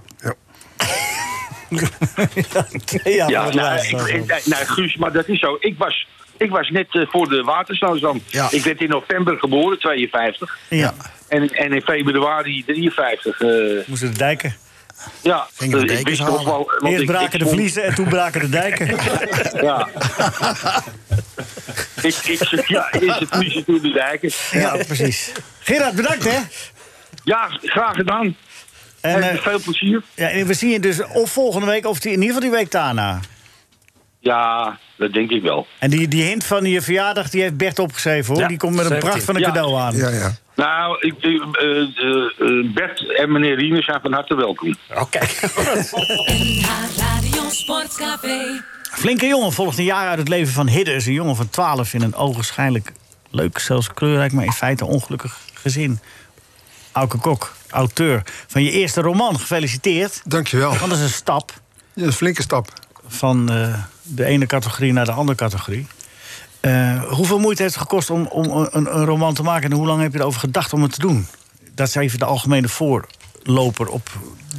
Twee jaar
Ja,
voor
nou,
het laatst.
ik, ik- nou, nou, Guus, maar dat is zo. Ik was, ik was net eh, voor de watersnoodramp.
Ja.
Ik werd in november geboren, 52.
ja.
En, en in februari 53. eh,
Moesten de dijken.
ja,
Ging de
Dus ik
dekens
wist nog
halen.
wel. want
Eerst
ik-
braken
ik
de
vond-
vliezen en toen braken de dijken.
Ja. ik, ik zeg, ja, is het vliezen toen de dijken.
ja, precies. Gerard, bedankt hè.
Ja, graag gedaan.
En,
En,
eh,
veel plezier.
ja, en we zien je dus of volgende week of die, in ieder geval die week daarna.
Ja, dat denk ik wel.
En die, die hint van je verjaardag die heeft Bert opgeschreven hoor.
Ja,
die komt met een
17.
pracht van een
Ja.
cadeau aan.
Ja, ja.
Nou, ik, eh, eh, eh, Bert en meneer Riener zijn van harte welkom.
NH Radio Sportcafé.
Flinke jongen volgt een jaar uit het leven van Hidders. Een jongen van 12 in een ogenschijnlijk leuk, zelfs kleurrijk, maar in feite ongelukkig gezin. Auke Kok, auteur van je eerste roman. Gefeliciteerd.
Dankjewel.
Want dat is een stap
Ja, een flinke stap.
van eh, de ene categorie naar de andere categorie. Eh, hoeveel moeite heeft het gekost om, om een, een roman te maken en hoe lang heb je erover gedacht om het te doen? Dat is even de algemene voorloper op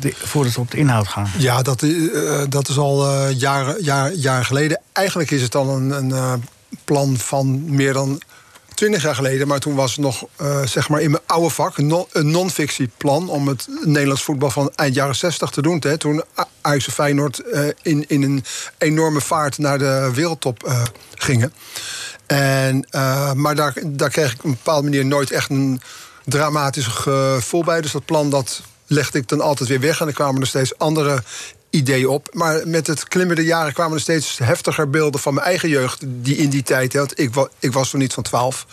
de, voordat we op de inhoud gaan.
Ja, dat, eh, eh, dat is al eh, jaren, jaar- jaren geleden. Eigenlijk is het al een, een eh, plan van meer dan twintig jaar geleden. Maar toen was het nog eh, zeg maar in mijn oude vak een non- een non-fictieplan... om het Nederlands voetbal van eind jaren zestig te doen. Hè, toen A- Ajax en Feyenoord eh, in, in een enorme vaart naar de wereldtop eh, gingen. En, eh, maar daar, daar kreeg ik op een bepaalde manier nooit echt een dramatisch gevoel bij. Dus dat plan dat legde ik dan altijd weer weg. En er kwamen er steeds andere ideeën op. Maar met het klimmen der jaren kwamen er steeds heftiger beelden van mijn eigen jeugd. Die in die tijd, hè, want ik, wa- ik was toen niet van 12.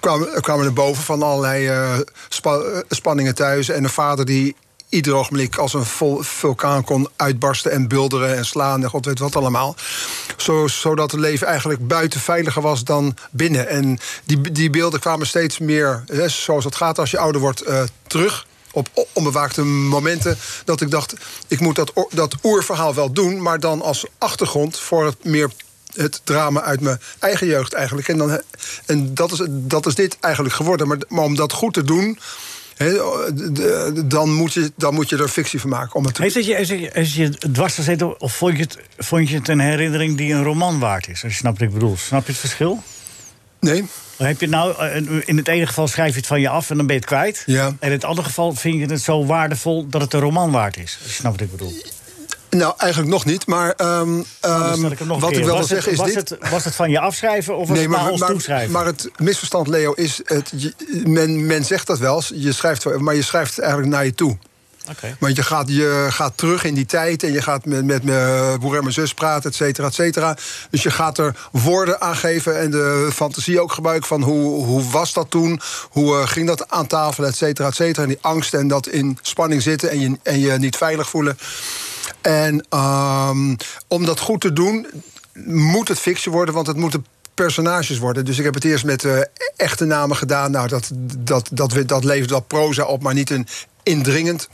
Kwamen, kwamen er boven van allerlei eh, spa- eh, spanningen thuis. En een vader die ieder ogenblik als een vol- vulkaan kon uitbarsten en bulderen en slaan en god weet wat allemaal. Zo, zodat het leven eigenlijk buiten veiliger was dan binnen. En die, die beelden kwamen steeds meer, hè, zoals dat gaat als je ouder wordt, eh, terug. Op o- onbewaakte momenten dat ik dacht, ik moet dat, o- dat oerverhaal wel doen, maar dan als achtergrond voor het meer het drama uit mijn eigen jeugd eigenlijk. En, dan, en dat, is, dat is dit eigenlijk geworden. Maar, maar om dat goed te doen, Hè, de- de- dan, moet je, dan moet je er fictie van maken. Om het te...
Heeft het je, heeft het je, heeft het je dwars gezeten of vond je, het, vond je het een herinnering die een roman waard is? Als je snapt wat ik bedoel. Snap je het verschil?
Nee?
Heb je het nou, eh, in het ene geval schrijf je het van je af en dan ben je het kwijt.
Ja.
En in het andere geval vind je het zo waardevol dat het een roman waard is. Als je snapt wat ik
Ehm,
bedoel.
Nou, eigenlijk nog niet. Maar ehm,
Dan
ehm,
stel ik hem nog een
wat
keer.
ik wel wil
was
zeggen
het,
is
was
dit...
Het, was het van je afschrijven of was het naar ons
maar,
toeschrijven?
maar het misverstand, Leo, is... Het, je- men, men zegt dat wel, je schrijft, maar je schrijft het eigenlijk naar je toe.
Oké.
Want je gaat, je gaat terug in die tijd en je gaat met, met mijn broer en mijn zus praten, et cetera, et cetera. Dus je gaat er woorden aan geven en de fantasie ook gebruiken van hoe, hoe was dat toen? Hoe eh, ging dat aan tafel, et cetera, et cetera. En die angst en dat in spanning zitten en je, en je niet veilig voelen. En ehm, om dat goed te doen, moet het fictie worden, want het moeten personages worden. Dus ik heb het eerst met eh, echte namen gedaan. Nou, dat, dat, dat, dat, dat levert wat proza op, maar niet een indringend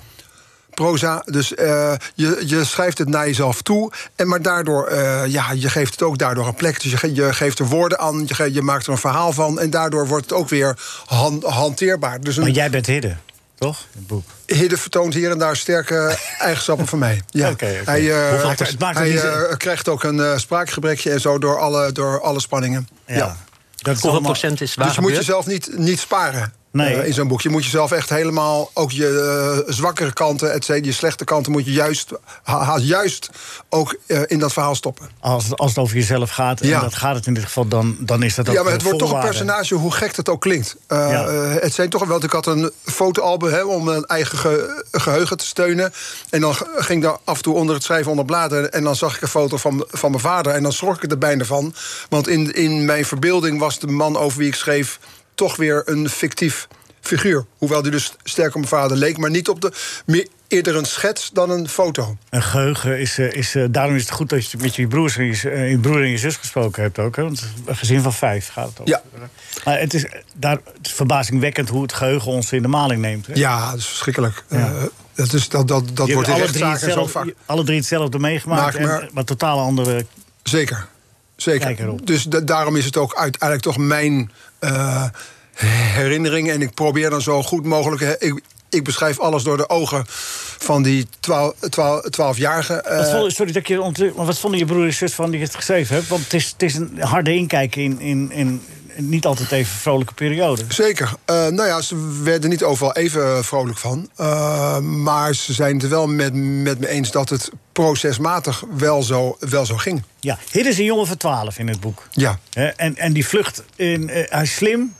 proza. Dus eh, je, je schrijft het naar jezelf toe. En maar daardoor, eh, ja, je geeft het ook daardoor een plek. Dus je, ge- je geeft er woorden aan, je, ge- je maakt er een verhaal van. En daardoor wordt het ook weer han- hanteerbaar. Dus
Maar
een
jij bent Hidde, toch? In het boek.
Hidde vertoont hier en daar sterke eigenschappen van mij. Ja.
Oké, oké.
Hij, eh,
Hoeveel- het maakt ook
hij
niet
eh, krijgt ook een eh, spraakgebrekje en zo door alle, door alle spanningen.
Ja.
Ja.
Dat is
Hoeveel
allemaal-
procent is waar
Dus je moet
gebeurd?
jezelf niet, niet sparen
Nee.
eh, in zo'n boek. Je moet jezelf echt helemaal, ook je eh, zwakkere kanten, et cetera, je slechte kanten, moet je juist, ha- ha- juist ook eh, in dat verhaal stoppen.
Als, het- als het over jezelf gaat, en
Ja.
dat gaat het in dit geval, dan, dan is dat ook
Ja, maar het wordt toch een
volwaarde.
personage, hoe gek het ook klinkt. Eh,
Ja.
eh, het zijn toch wel. want Ik had een fotoalbum hè, om mijn eigen ge- geheugen te steunen. En dan g- ging ik daar af en toe onder het schrijven onder bladeren. En dan zag ik een foto van, van mijn vader. En dan schrok ik er bijna van. Want in, in mijn verbeelding was de man over wie ik schreef toch weer een fictief figuur. Hoewel die dus sterk op mijn vader leek, maar niet op de. Meer, eerder een schets dan een foto.
Een geheugen is, eh, is eh, daarom is het goed dat je met je broers en je, eh, je broer en je zus gesproken hebt ook. Hè? Want een gezin van vijf gaat het over.
Ja.
Maar het is, eh, daar, het is verbazingwekkend hoe het geheugen ons in de maling neemt. Hè?
Ja, dat is verschrikkelijk. Eh, dat is, dat, dat, dat
Je
wordt
hebt
in
alle drie,
rechtszaken zo
hetzelfde,
vaak.
je- alle drie hetzelfde meegemaakt,
Maak maar-
en, maar totaal andere...
Zeker.
Kijk
Zeker.
erop.
Dus da- daarom is het ook uiteindelijk toch mijn eh, herinnering. En ik probeer dan zo goed mogelijk. eh, Ik, ik beschrijf alles door de ogen van die 12 12 12-jarige. eh,
Wat vonden- sorry dat ik je ontdek, maar wat vonden je broer en zus van die het geschreven hebt? Want het is, het is een harde inkijk in, in, in een niet altijd even vrolijke periode.
Zeker. Eh, nou ja, ze werden niet overal even vrolijk van. Eh, maar ze zijn het er wel met, met me eens dat het procesmatig wel zo, wel zo ging.
Ja, dit is een jongen van 12 in het boek.
Ja.
Hè, en, en die vlucht, in, eh, hij is slim.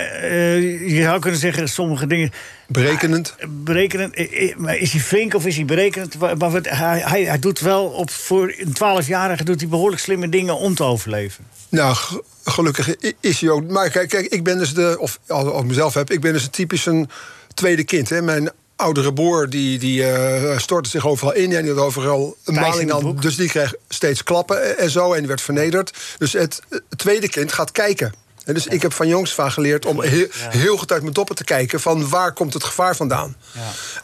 Eh, je zou kunnen zeggen, sommige dingen Ah,
Berekenend.
berekenend. Eh, eh, maar Is hij flink of is hij berekenend? Wa- Maar wat- hij, hij, hij doet wel, op, voor een 12-jarige doet hij behoorlijk slimme dingen om te overleven.
Nou, g- gelukkig i- is hij ook. Maar kijk, kijk ik ben dus de. Of als als ik mezelf heb, ik ben dus een typisch een tweede kind. Hè. Mijn oudere broer die, die eh, stortte zich overal in. En die had overal een
in
maling
het
aan.
boek.
Dus die kreeg steeds klappen e- en zo. En die werd vernederd. Dus het eh, tweede kind gaat kijken. En dus ik heb van jongs van geleerd om heel, heel goed uit mijn doppen te kijken... van waar komt het gevaar vandaan.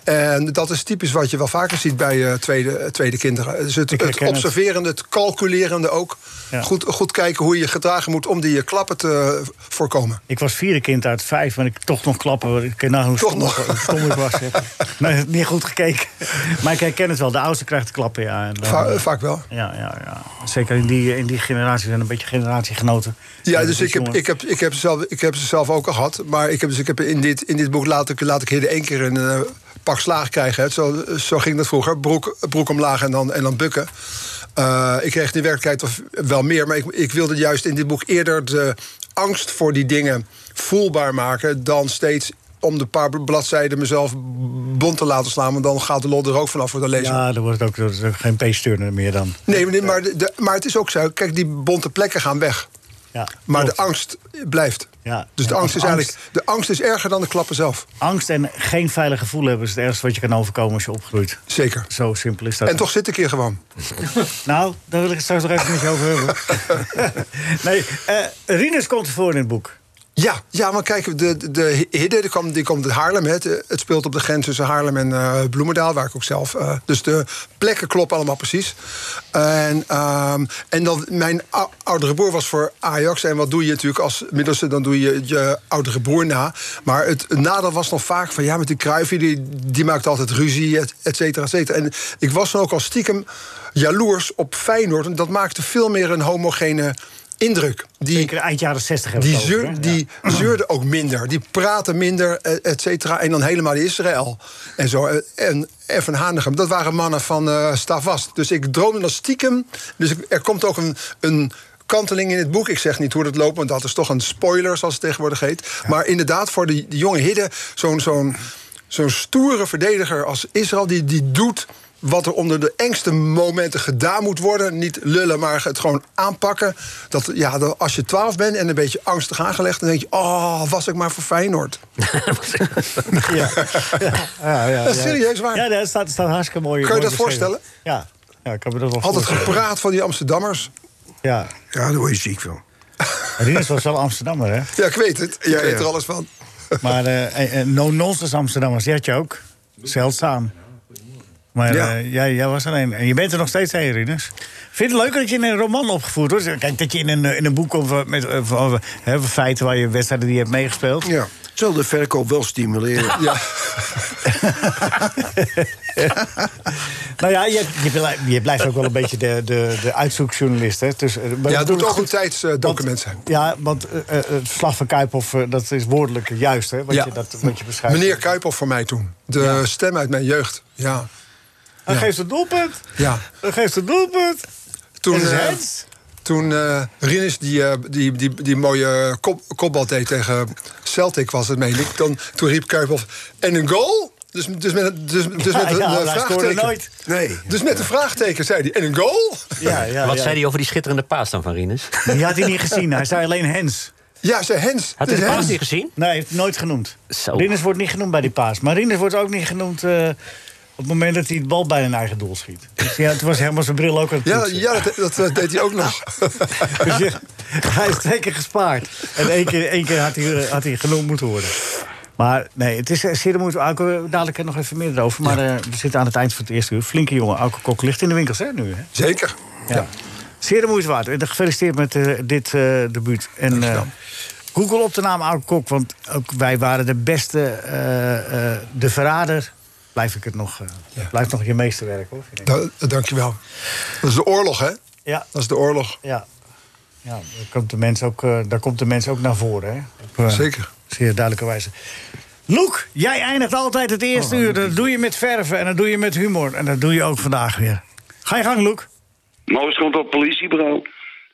En dat is typisch wat je wel vaker ziet bij eh, tweede, tweede kinderen. Dus het,
Ik
het
herken het.
observerende, het calculerende ook.
Ja.
Goed, goed kijken hoe je je gedragen moet om die eh, klappen te eh, voorkomen.
Ik was vierde kind uit vijf, maar ik toch nog klappen. want Ik ken nou hoe
Toch
stom,
nog.
hoe stom ik was. hè. Maar niet goed gekeken. Maar ik herken het wel, de oudste krijgt de klappen, ja. En dan-
Va- eh, vaak wel.
Ja, ja, ja. Zeker in die, eh, in die generatie zijn een beetje generatiegenoten.
Ja,
Dat
dus
is
ik heb,
jongen.
ik, heb, ik, heb ze zelf, ik heb ze zelf ook al gehad. Maar ik heb, dus ik heb in, dit, in dit boek laat ik, laat ik hier één keer een eh, pak slaag krijgen. Hè. Zo, zo ging dat vroeger. Broek, broek omlaag en dan, en dan bukken. Eh, ik kreeg in de werkelijkheid of- wel meer. Maar ik, ik wilde juist in dit boek eerder de angst voor die dingen voelbaar maken... dan steeds om de paar bladzijden mezelf bond te laten slaan. Want dan gaat de lol er ook vanaf voor de lezer.
Ja, dan wordt het ook, dat is ook geen peestuurder meer dan.
Nee, maar, maar, de- de- maar het is ook zo. Kijk, die bonte plekken gaan weg.
Ja,
Maar de
klopt.
angst blijft.
Ja,
dus de
ja,
angst
de
is eigenlijk. De angst is erger dan de klappen zelf.
angst en geen veilig gevoel hebben is het ergste wat je kan overkomen als je opgroeit.
Zeker.
Zo simpel is dat.
En toch zit ik hier gewoon.
Nou, daar wil ik het straks nog even met je over hebben. nee, eh Rinus komt voor in het boek.
Ja, ja, maar kijk, de, de, de Hidde die kwam, die kwam uit Haarlem. hè. Het, het speelt op de grens tussen Haarlem en eh, Bloemendaal, waar ik ook zelf. eh, dus de plekken kloppen allemaal precies. En, ehm, en dan, mijn ou- oudere broer was voor Ajax. En wat doe je natuurlijk als middelste? Dan doe je je oudere broer na. Maar het nadeel was nog vaak van ja, met die Kruifje, die, die maakt altijd ruzie, et, et cetera, et cetera. En ik was dan ook al stiekem jaloers op Feyenoord. En dat maakte veel meer een homogene indruk. Die,
Zeker eind jaren 60 hebben
die,
we het over,
zeur,
hè?
die zeurden ook minder. Die praten minder, eh, et cetera. En dan helemaal Israël. En zo. eh, En, en van Hanegem. Dat waren mannen van eh Stavast. Dus ik droomde dat stiekem. Dus ik- er komt ook een, een kanteling in het boek. Ik zeg niet hoe dat loopt, want dat is toch een spoiler, zoals het tegenwoordig heet. Maar inderdaad, voor de, de jonge Hidde, zo'n zo'n zo'n stoere verdediger als Israël, die, die doet. Wat er onder de engste momenten gedaan moet worden. Niet lullen, maar het gewoon aanpakken. Dat, ja, dat als je 12 bent en een beetje angstig aangelegd... dan denk je, oh, was ik maar voor Feyenoord.
Ja. ja, ja, ja.
Dat is serieus waar.
Ja, dat staat, staat hartstikke mooi.
Kan je
mooi
dat
beschreven.
voorstellen?
Ja. ja, ik kan me dat wel
Altijd
voorstellen.
gepraat van die Amsterdammers.
Ja.
Ja, daar word je ziek van.
Rinus was wel Amsterdammer, hè?
Ja, ik weet het. Ik
Ja,
weet
ja.
er alles van.
Maar eh, eh, no-nonsense Amsterdammers, die had je ook. Zeldzaam. Maar
Ja.
eh, jij, jij was er een. En je bent er nog steeds een, Rinus. Vind je het leuk dat je in een roman opgevoerd wordt? Kijk, dat je in een, eh, in een boek komt van- met eh, van- hè, van feiten waar je wedstrijden die je hebt meegespeeld.
Ja. Het zal de verkoop wel stimuleren.
Ja.
Nou ja, je, je, blij- je blijft ook wel een beetje de, de, de uitzoekjournalist. Hè? Dus, eh, maar we
Ja, het
doen
moet ook
goed.
een tijdsdocument zijn.
Ja, want eh, eh, het verslag van Kuiphoff, eh, dat is woordelijk juist, hè? Wat,
Ja.
je, dat, wat je beschrijft.
Meneer Kuipel voor mij toen. De stem uit mijn jeugd. Ja.
Hij
ja.
geeft een doelpunt.
ja.
Hij geeft een doelpunt.
Toen,
Het is
eh,
Hens.
toen eh, Rinus die, eh, die, die, die mooie kop, kopbal deed tegen Celtic, was het, meen ik. Dan, toen riep Kuipel, en een goal? Dus, dus met, een- dus, dus met
Ja,
een
ja,
eh,
hij scoorde
vraagteken.
nooit.
Nee.
Dus met een vraagteken, zei hij. En een goal?
Ja, ja,
Wat
ja.
zei hij over die schitterende paas dan van Rinus? Had
Die had hij niet gezien. Hij zei alleen Hens.
Ja, zei Hens.
hij
Dus
de paas
Hens.
niet gezien?
Nee, hij heeft het nooit genoemd.
Zo.
Rinus wordt niet genoemd bij die paas. Maar Rinus wordt ook niet genoemd eh, Op het moment dat hij het bal bijna naar eigen doel schiet. Dus ja, toen was helemaal zijn bril ook aan het
Ja,
poetsen.
ja dat, dat, dat deed hij ook nog.
Dus ja, hij is twee keer gespaard. En één keer, één keer had, hij, had hij genoemd moeten worden. Maar nee, het is eh, zeer de moeite. Auke, dadelijk nog even meer erover. Maar eh, we zitten aan het eind van het eerste uur. Flinke jongen. Auke Kok ligt in de winkels hè, nu. Hè?
Zeker.
Ja. Zeer de moeite waard. En Gefeliciteerd met eh, dit eh, debuut. En eh, Google op de naam Auke Kok, want ook wij waren de beste. eh, eh, de verrader. Blijf ik het nog. eh, Blijft nog je meesterwerk hoor. vind ik.
Da- eh, dankjewel. Dat is de oorlog, hè?
Ja,
Dat is de oorlog.
ja. ja daar, komt de mens ook, eh, daar komt de mens ook naar voren. Hè? Op, eh,
Zeker.
Zeer duidelijke wijze. Loek, jij eindigt altijd het eerste uur. Dat doe je met verven en dat doe je met humor. En dat doe je ook vandaag weer. Ga je gang, Loek.
Moos komt op het politiebureau.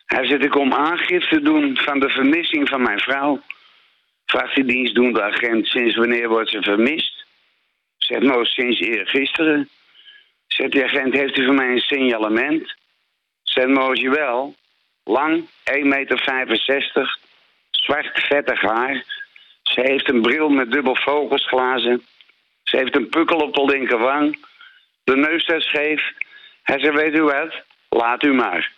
Hij zegt, ik kom aangifte te doen van de vermissing van mijn vrouw. Vraagt de dienstdoende agent, sinds wanneer wordt ze vermist? Zegt Moos, sinds eergisteren. Zegt de agent, heeft u van mij een signalement? Zegt nou, Moos, jawel. Lang, 1,65 meter, zwart vettig haar. Ze heeft een bril met dubbel focusglazen. Ze heeft een pukkel op de linkerwang. De neus staat scheef. Hij zegt, weet u wat? Laat u maar.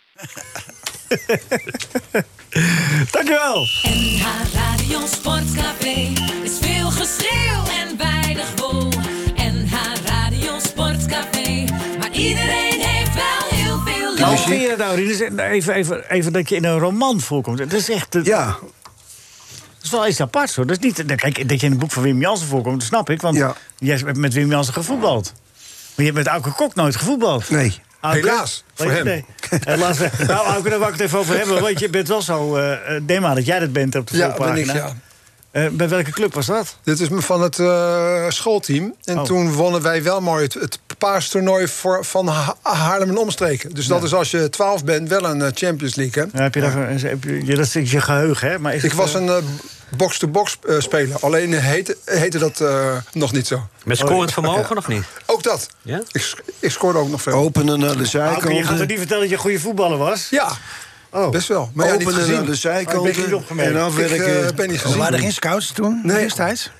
Dankjewel.
NH Radio Sportcafé is veel geschreeuw en weinig wol. NH Radio Sportcafé, maar iedereen heeft wel heel veel lol.
Hoe vind je dat nou, Rien? Is- Even, even, even dat je in een roman voorkomt. Dat is echt... eh, Dat
Ja,
is wel iets aparts, hoor. Dat is niet... Kijk, dat je in het boek van Wim Jansen voorkomt, dat snap ik. Want
Ja.
jij hebt met Wim Jansen gevoetbald. Maar je hebt met Auke Kok nooit gevoetbald.
nee.
Auke?
Helaas,
Weet
voor
je-
hem.
nee. Helaas. Nou, Auke, daar wil ik het even over hebben. Want je bent wel zo... eh eh, neem aan dat jij dat bent op de
Ja, ben ik,
voorpagina.
ja.
Eh, bij welke club was dat?
Dit is me van het eh, schoolteam. En
Oh.
toen wonnen wij wel mooi het, het paastoernooi voor, van Ha- Haarlem en omstreken. Dus dat is als je 12 bent wel een eh, Champions League. Hè?
Ja, heb je daar, ge- heb je, ja, dat is je geheugen, hè? Maar is
Ik
het,
was
eh,
een eh, box-to-box eh, speler. Alleen heette, heette dat eh, nog niet zo.
Met
Oh,
scorend vermogen of niet?
Ook dat.
Ja?
Ik, sch- ik scoorde ook nog veel.
Openen naar de
Auke, je gaat toch
zijkanten.
niet vertellen dat je een goede voetballer was?
dus Ja,
Oh.
best wel. Maar ja, niet
Openen naar
gezien.
de
Oh, ik ben niet
zijkanten.
opgemerkt.
En afwerken.
Ik, eh, ben niet gezien.
Waren er geen scouts toen?
Nee.
Destijds?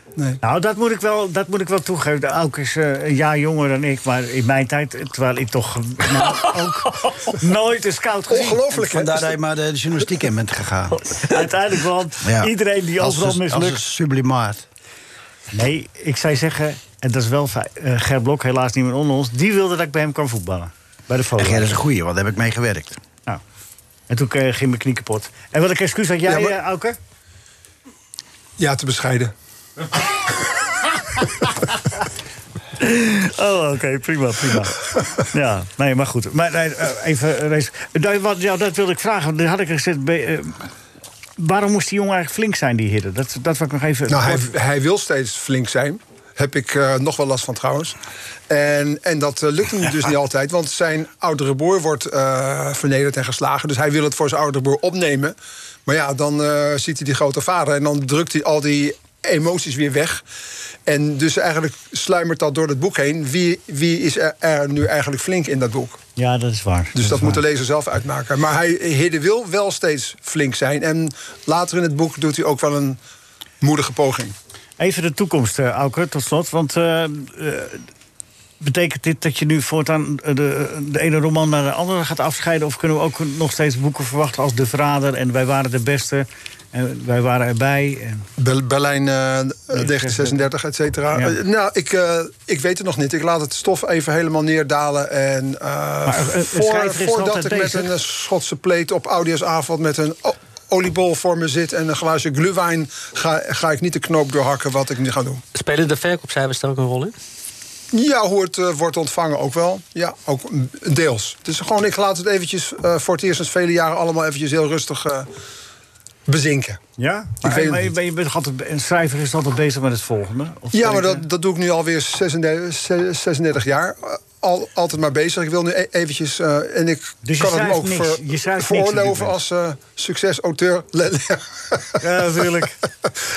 Nou, dat moet ik wel, dat moet ik wel toegeven. De Auk is eh, een jaar jonger dan ik, maar in mijn tijd, eh, terwijl ik toch eh, nou, ook nooit een scout gezien.
Ongelooflijk, hè?
Vandaar dat je maar de journalistiek in bent gegaan.
Uiteindelijk, want
Ja.
iedereen die
Als
overal
een- Als een
mislukt.
sublimaat.
Nee, ik zou zeggen, en dat is wel fijn, eh, Ger Blok, helaas niet meer onder ons, die wilde dat ik bij hem kwam voetballen. Bij de
Ja, dat
foto.
is een goeie, want daar heb ik mee gewerkt.
Nou, en toen eh, ging mijn knie kapot. En wat een excuus had jij,
Ja, maar-
eh, Auke?
Ja, te bescheiden.
Oh, oké, prima, prima. ja, nee, maar goed. Maar nee, eh, even, eh, Rees. Nou, wat, ja, dat wilde ik vragen. want Dat had ik gezegd. bij, eh, waarom moest die jongen eigenlijk flink zijn, die hidden? Dat, dat wil ik nog even.
Nou, hij, hij wil steeds flink zijn. Heb ik eh, nog wel last van trouwens. En, en dat eh, lukt hem dus niet altijd. Want zijn oudere broer wordt eh, vernederd en geslagen. Dus hij wil het voor zijn oudere broer opnemen. Maar ja, dan eh, ziet hij die grote vader. En dan drukt hij al die emoties weer weg. En dus eigenlijk sluimert dat door het boek heen. Wie, wie is er, er nu eigenlijk flink in dat boek?
ja, dat is waar.
Dus dat
is
moet de
waar.
lezer zelf uitmaken. Maar hij, Hidde wil wel steeds flink zijn. En later in het boek doet hij ook wel een moedige poging.
Even de toekomst, eh, Auke, tot slot. Want eh, eh, betekent dit dat je nu voortaan eh, de, de ene roman naar de andere gaat afscheiden? Of kunnen we ook nog steeds boeken verwachten als De Verrader en Wij waren de beste en Wij waren erbij? En...
Ber- Berlijn eh, 1936, et cetera.
Ja.
Eh, nou, ik, eh, ik weet het nog niet. Ik laat het stof even helemaal neerdalen. En eh,
een- een schrijver
voor,
is er altijd
voordat ik met
bezig.
een eh, Schotse pleet op oudejaarsavond... met een o- oliebol voor me zit en een glaasje gluwijn... Ga, ga ik niet de knoop doorhakken wat ik nu ga doen.
Spelen de verkoopcijfers daar ook een rol in?
Ja, hoe het eh, wordt ontvangen ook wel. Ja, ook mm, deels. Dus gewoon, ik laat het eventjes eh, voor het eerst sinds vele jaren... allemaal eventjes heel rustig eh, bezinken.
Ja, maar,
weet het
maar je,
niet.
bent- je bent toch altijd, een schrijver is altijd bezig met het volgende. Of
Ja, maar
ben ik, eh,
dat, dat doe ik nu alweer 36, ze- 36 jaar. Eh, Al, altijd maar bezig. Ik wil nu e- eventjes. eh, en ik
Dus je
kan het
schrijft
me ook
niks.
ver-
Je schrijft niks
veroorloven
natuurlijk.
als eh, succesauteur. Le-
eh, Ja, natuurlijk.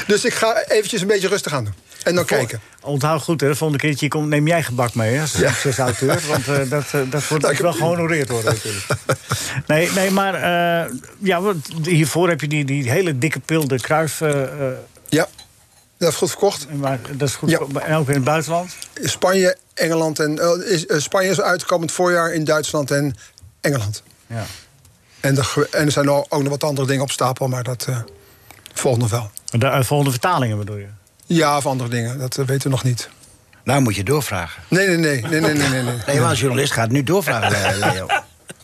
dus ik ga eventjes een beetje rustig aan doen. En dan nou, kijken.
Onthoud goed, hè. De volgende keer dat je komt, neem jij gebak mee, hè. Als succesauteur. Want eh, dat, eh, dat
Nou,
wordt
Nou,
ook wel gehonoreerd worden, natuurlijk. Nee, nee maar eh, ja, want hiervoor heb je die, die hele dikke pil, de kruif... eh, eh,
Ja. Dat is goed verkocht.
Maar dat is goed.
Ja.
voor- En ook in het buitenland.
Spanje, Engeland en. eh, is, eh, Spanje is uitkomend voorjaar in Duitsland en Engeland.
Ja.
En, de ge- en er zijn ook nog wat andere dingen op stapel, maar dat eh volgt nog wel.
Maar De eh, volgende vertalingen bedoel je?
Ja, of andere dingen, dat eh, weten we nog niet.
Nou moet je doorvragen.
Nee, nee, nee, nee, nee, nee, nee. nee.
Nee, maar als journalist gaat nu doorvragen, eh, Leo.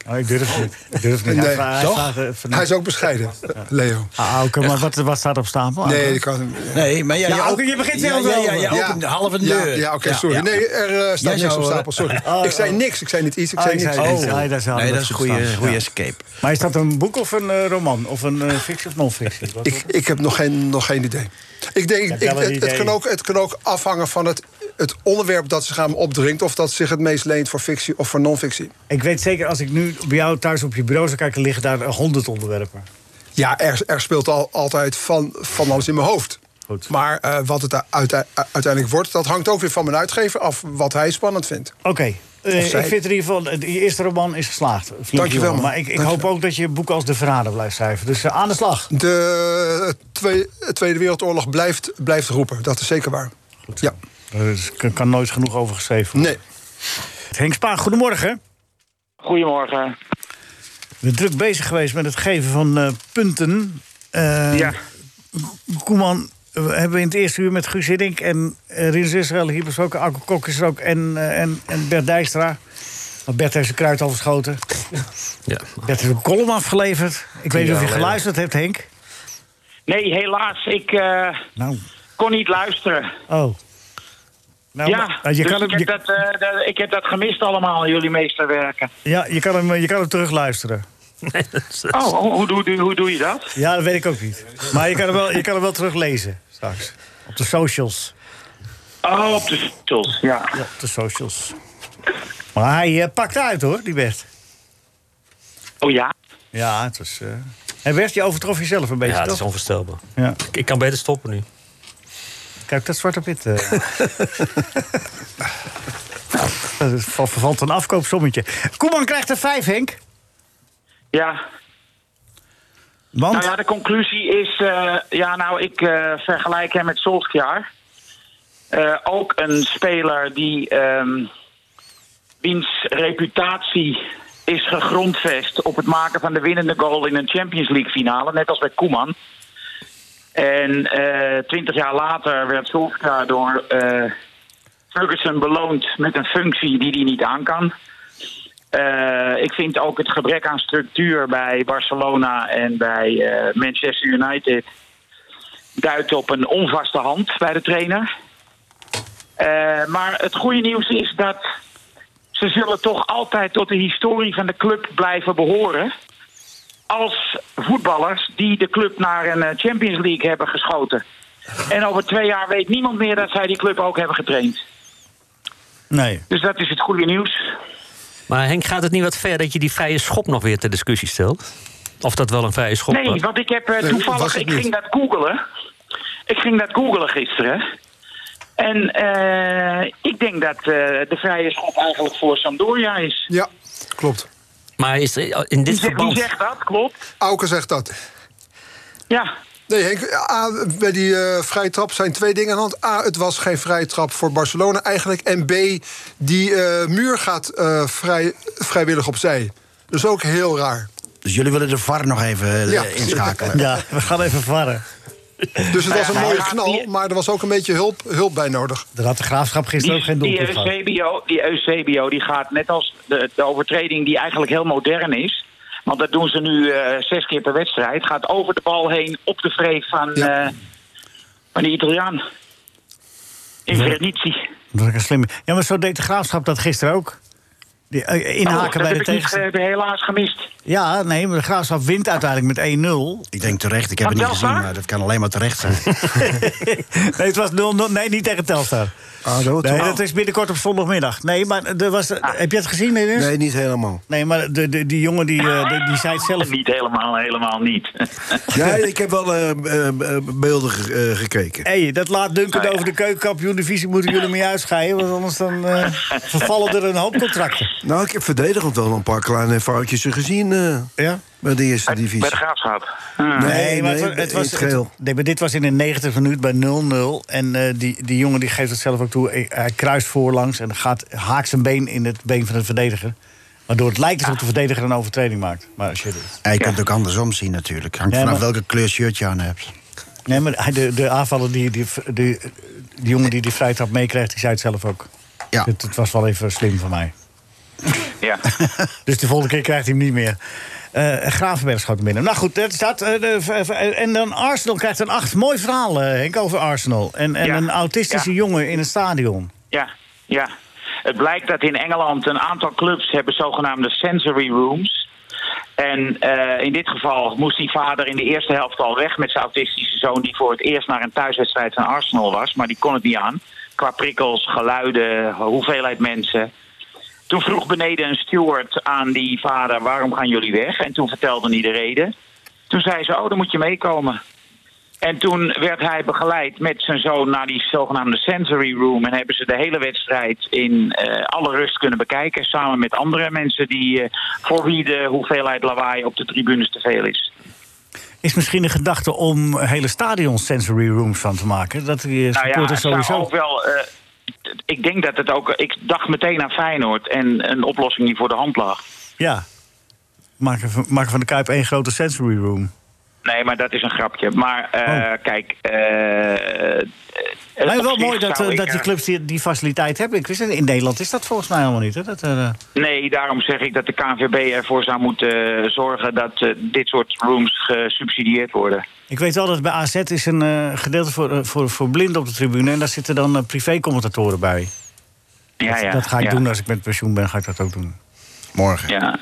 Oh, ik durf het niet. Ik durf het niet.
Nee,
Hij vraagt-
toch?
hij vraagt, eh, van-
Hij is ook bescheiden, Leo.
Ah, oké, maar wat, wat staat op stapel?
Nee, ik kan...
Nee, maar ja,
Ja,
op-
ook- je begint
ja,
zelf
ja,
wel
ja,
over.
ja,
Ja.
opent de halve
Ja,
deur.
ja oké, sorry.
ja.
Nee, er eh, staat
Jij
niks op
zou, eh, Ah,
stapel, sorry.
Oh,
ik zei
oh.
niks, ik zei niet iets, ik
Oh,
zei
ik
niks.
zei
Oh.
iets. Ja, daar zouden
nee,
we
dat is een
het
goede,
verstaan.
goede
Ja.
escape.
Maar is dat een boek of een eh, roman? Of een eh, fictie of non-fictie? Wat-
Ik, ik heb nog geen, nog geen idee. Ik denk,
hebt
ik-
wel een
het, het
idee.
kan ook, het kan ook afhangen van het, het onderwerp dat ze gaan opdringt... of dat zich het meest leent voor fictie of voor non-fictie.
Ik weet zeker, als ik nu bij jou thuis op je bureau zou kijken, liggen daar honderd onderwerpen.
Ja, er, er speelt al, altijd van, van alles in mijn hoofd.
Goed.
Maar eh, wat het uite- uiteindelijk wordt, dat hangt ook weer van mijn uitgever af... wat hij spannend vindt.
Oké. eh,
Of zij.
ik vind in ieder geval, eh, je eerste roman is geslaagd. Flink
Dankjewel,
jongen.
man.
Maar ik, ik hoop
Dankjewel.
ook dat je boek als De Verrader blijft schrijven. Dus eh, aan de slag.
De Twee- Tweede Wereldoorlog blijft, blijft roepen, dat is zeker waar. Ja,
Er is- Eh, dus kan- kan nooit genoeg over geschreven worden.
nee.
Henk Spaan, goedemorgen.
Goedemorgen.
We zijn druk bezig geweest met het geven van eh, punten. Eh,
Ja.
Koeman, we hebben in het eerste uur met Guus Hiddink en eh Rinus Israël hier besproken. Arco Kok is er ook en, eh, en, en Bert Dijkstra. Maar Bert heeft zijn kruid al verschoten.
Ja.
Bert heeft een column afgeleverd. Ik weet niet of je
jaar geleden.
geluisterd hebt, Henk.
Nee, helaas, ik eh,
Nou,
kon niet luisteren.
oh. Nou,
ja,
maar- je,
dus
kan hem,
ik, heb
je,
dat, eh, dat- ik heb dat gemist allemaal, jullie meesterwerken.
ja, je, kan hem, eh, je kan hem terugluisteren.
Oh, hoe, hoe, doe- hoe doe je dat?
Ja, dat weet ik ook niet. Maar je kan hem wel, je kan hem wel teruglezen straks. Op de socials.
Oh, op de socials, ja.
Ja, op de socials. Maar hij eh, pakt uit hoor, die Bert.
Oh ja?
Ja, het was. eh En Bert, je overtrof jezelf een beetje.
ja, het is
toch?
onvoorstelbaar.
ja.
Ik, ik kan beter stoppen nu.
Kijk, dat zwarte pit. eh. nou, dat val- vervalt een afkoopsommetje. Koeman krijgt er vijf, Henk.
Ja.
Want.
Nou ja, de conclusie is... eh, ja, nou, ik eh, vergelijk hem met Solskjaer. Eh, ook een speler die... ehm, wiens reputatie is gegrondvest... op het maken van de winnende goal in een Champions League finale. Net als bij Koeman. En eh, twintig jaar later werd Solskjaer door eh, Ferguson beloond... met een functie die hij niet aan kan... Eh, ik vind ook het gebrek aan structuur bij Barcelona en bij eh, Manchester United duidt op een onvaste hand bij de trainer. Eh, maar het goede nieuws is dat ze zullen toch altijd tot de historie van de club blijven behoren. Als voetballers die de club naar een eh, Champions League hebben geschoten. En over twee jaar weet niemand meer dat zij die club ook hebben getraind.
Nee.
Dus dat is het goede nieuws.
Maar Henk, gaat het niet wat ver dat je die vrije schop nog weer ter discussie stelt? Of dat wel een vrije schop
Nee,
was?
want ik heb eh,
Nee, was
toevallig,
het
ik
niet.
ging dat googelen. Ik ging dat googelen gisteren. En eh, ik denk dat eh, de vrije schop eigenlijk voor Sampdoria is.
Ja, klopt.
Maar is er, oh,
Wie
in dit
zegt, wie
verband...
zegt dat? Klopt.
Auken zegt dat.
Ja.
Nee, Henk, A, bij die eh vrije trap zijn twee dingen aan de hand. A, het was geen vrije trap voor Barcelona eigenlijk. En B, die eh, muur gaat eh, vrij, vrijwillig opzij. Dus ook heel raar.
Dus jullie willen de VAR nog even eh,
Ja.
inschakelen.
Ja, we gaan even verwarren.
Dus het was een
ja,
mooie
hij gaat
knal,
hier-
maar er was ook een beetje hulp, hulp bij nodig.
Daar had de graafschap gisteren ook
Die,
geen
die,
doelpunt gehad.
Eusebio, die Eusebio die gaat net als de, de overtreding die eigenlijk heel modern is. Want dat doen ze nu eh, zes keer per wedstrijd. Gaat over de bal heen op de vreef van,
Ja.
eh, van de Italiaan. Invernitie.
Dat was een slimme. Ja, maar zo deed de graafschap dat gisteren ook. Die, eh, inhaken
Oh, dat
bij de
heb ik niet,
tegenstander.
eh, helaas gemist.
Ja, nee, maar de graafschap wint uiteindelijk met 1-0.
Ik denk terecht, ik heb
Wat,
het niet gezien,
Belsaar?
maar dat kan alleen maar terecht zijn.
nee, het was 0-0. Nee, niet tegen Telstar.
Ah,
ADO,
Nee,
toch?
dat is binnenkort op zondagmiddag. Nee, maar er was,
Ah.
heb je het gezien? Nee,
Nee, niet helemaal.
nee maar de, de, die jongen die, eh, die, die zei het zelf.
Niet helemaal, helemaal niet.
Ja, ik heb wel eh, eh, eh, beelden ge- eh, gekeken.
Hé, hey, dat laat Duncan
Nou ja.
over de keukenkampioen divisie moeten jullie mee uitscheiden. Want anders dan eh, vervallen er een hoop contracten.
Nou, ik heb verdedigend wel een paar kleine foutjes gezien eh,
Ja?
bij de eerste divisie.
Bij de graafschap.
Nee,
Ah. maar
nee,
wa-
in het geel.
nee, maar dit was in de 90 minuut bij 0-0. En eh, die, die jongen die geeft het zelf ook toe. Eh, Hij kruist voorlangs en gaat, haakt zijn been in het been van de verdediger. Waardoor het lijkt alsof de verdediger een overtreding maakt. Maar shit.
Ja, je kunt het ook andersom zien natuurlijk. Hangt
Ja,
vanaf
maar-
welke kleur shirt je aan hebt.
Nee, maar hij- de, de aanvaller, die, die, die, die jongen die die vrijtrap meekrijgt, die zei het zelf ook.
Ja.
Het, het was wel even slim van mij.
Ja.
Dus de volgende keer krijgt hij hem niet meer. Eh Gravenberg schoot hem binnen. Nou goed, dat staat. eh, de- v- v- en dan Arsenal krijgt een acht. Mooi verhaal, eh, Henk, over Arsenal. En, en
Ja.
een autistische
Ja.
jongen in het stadion.
Ja, ja. Het blijkt dat in Engeland een aantal clubs hebben zogenaamde sensory rooms. En eh, in dit geval moest die vader in de eerste helft al weg met zijn autistische zoon... die voor het eerst naar een thuiswedstrijd van Arsenal was. Maar die kon het niet aan. Qua prikkels, geluiden, hoeveelheid mensen. Toen vroeg beneden een steward aan die vader... waarom gaan jullie weg? En toen vertelde hij de reden. Toen zei ze, oh, dan moet je meekomen. En toen werd hij begeleid met zijn zoon naar die zogenaamde sensory room. En hebben ze de hele wedstrijd in eh, alle rust kunnen bekijken. Samen met andere mensen die, eh, voor wie de hoeveelheid lawaai op de tribunes te veel is.
Is misschien de gedachte om hele stadion sensory rooms van te maken? Dat die
Nou
eh,
ja,
supporters
het zou
sowieso.
ook wel. eh, t- ik denk dat het ook. Ik dacht meteen aan Feyenoord en een oplossing die voor de hand lag.
Ja. Maken van, maken van de Kuip één grote sensory room.
Nee, maar dat is een grapje. Maar eh,
Oh.
kijk. eh
Maar wel mooi dat, eh, dat die clubs die, die faciliteit hebben. Ik wist het, in Nederland is dat volgens mij helemaal niet. Hè? Dat, er, eh,
Nee, daarom zeg ik dat de KNVB ervoor zou moeten eh, zorgen dat eh, dit soort rooms gesubsidieerd worden.
Ik weet wel dat bij AZ is een eh, gedeelte voor, eh, voor, voor blinden op de tribune. En daar zitten dan eh, privé-commentatoren bij.
Ja,
dat,
ja,
dat ga ik
ja.
doen als ik met pensioen ben, ga ik dat ook doen.
Morgen.
Ja.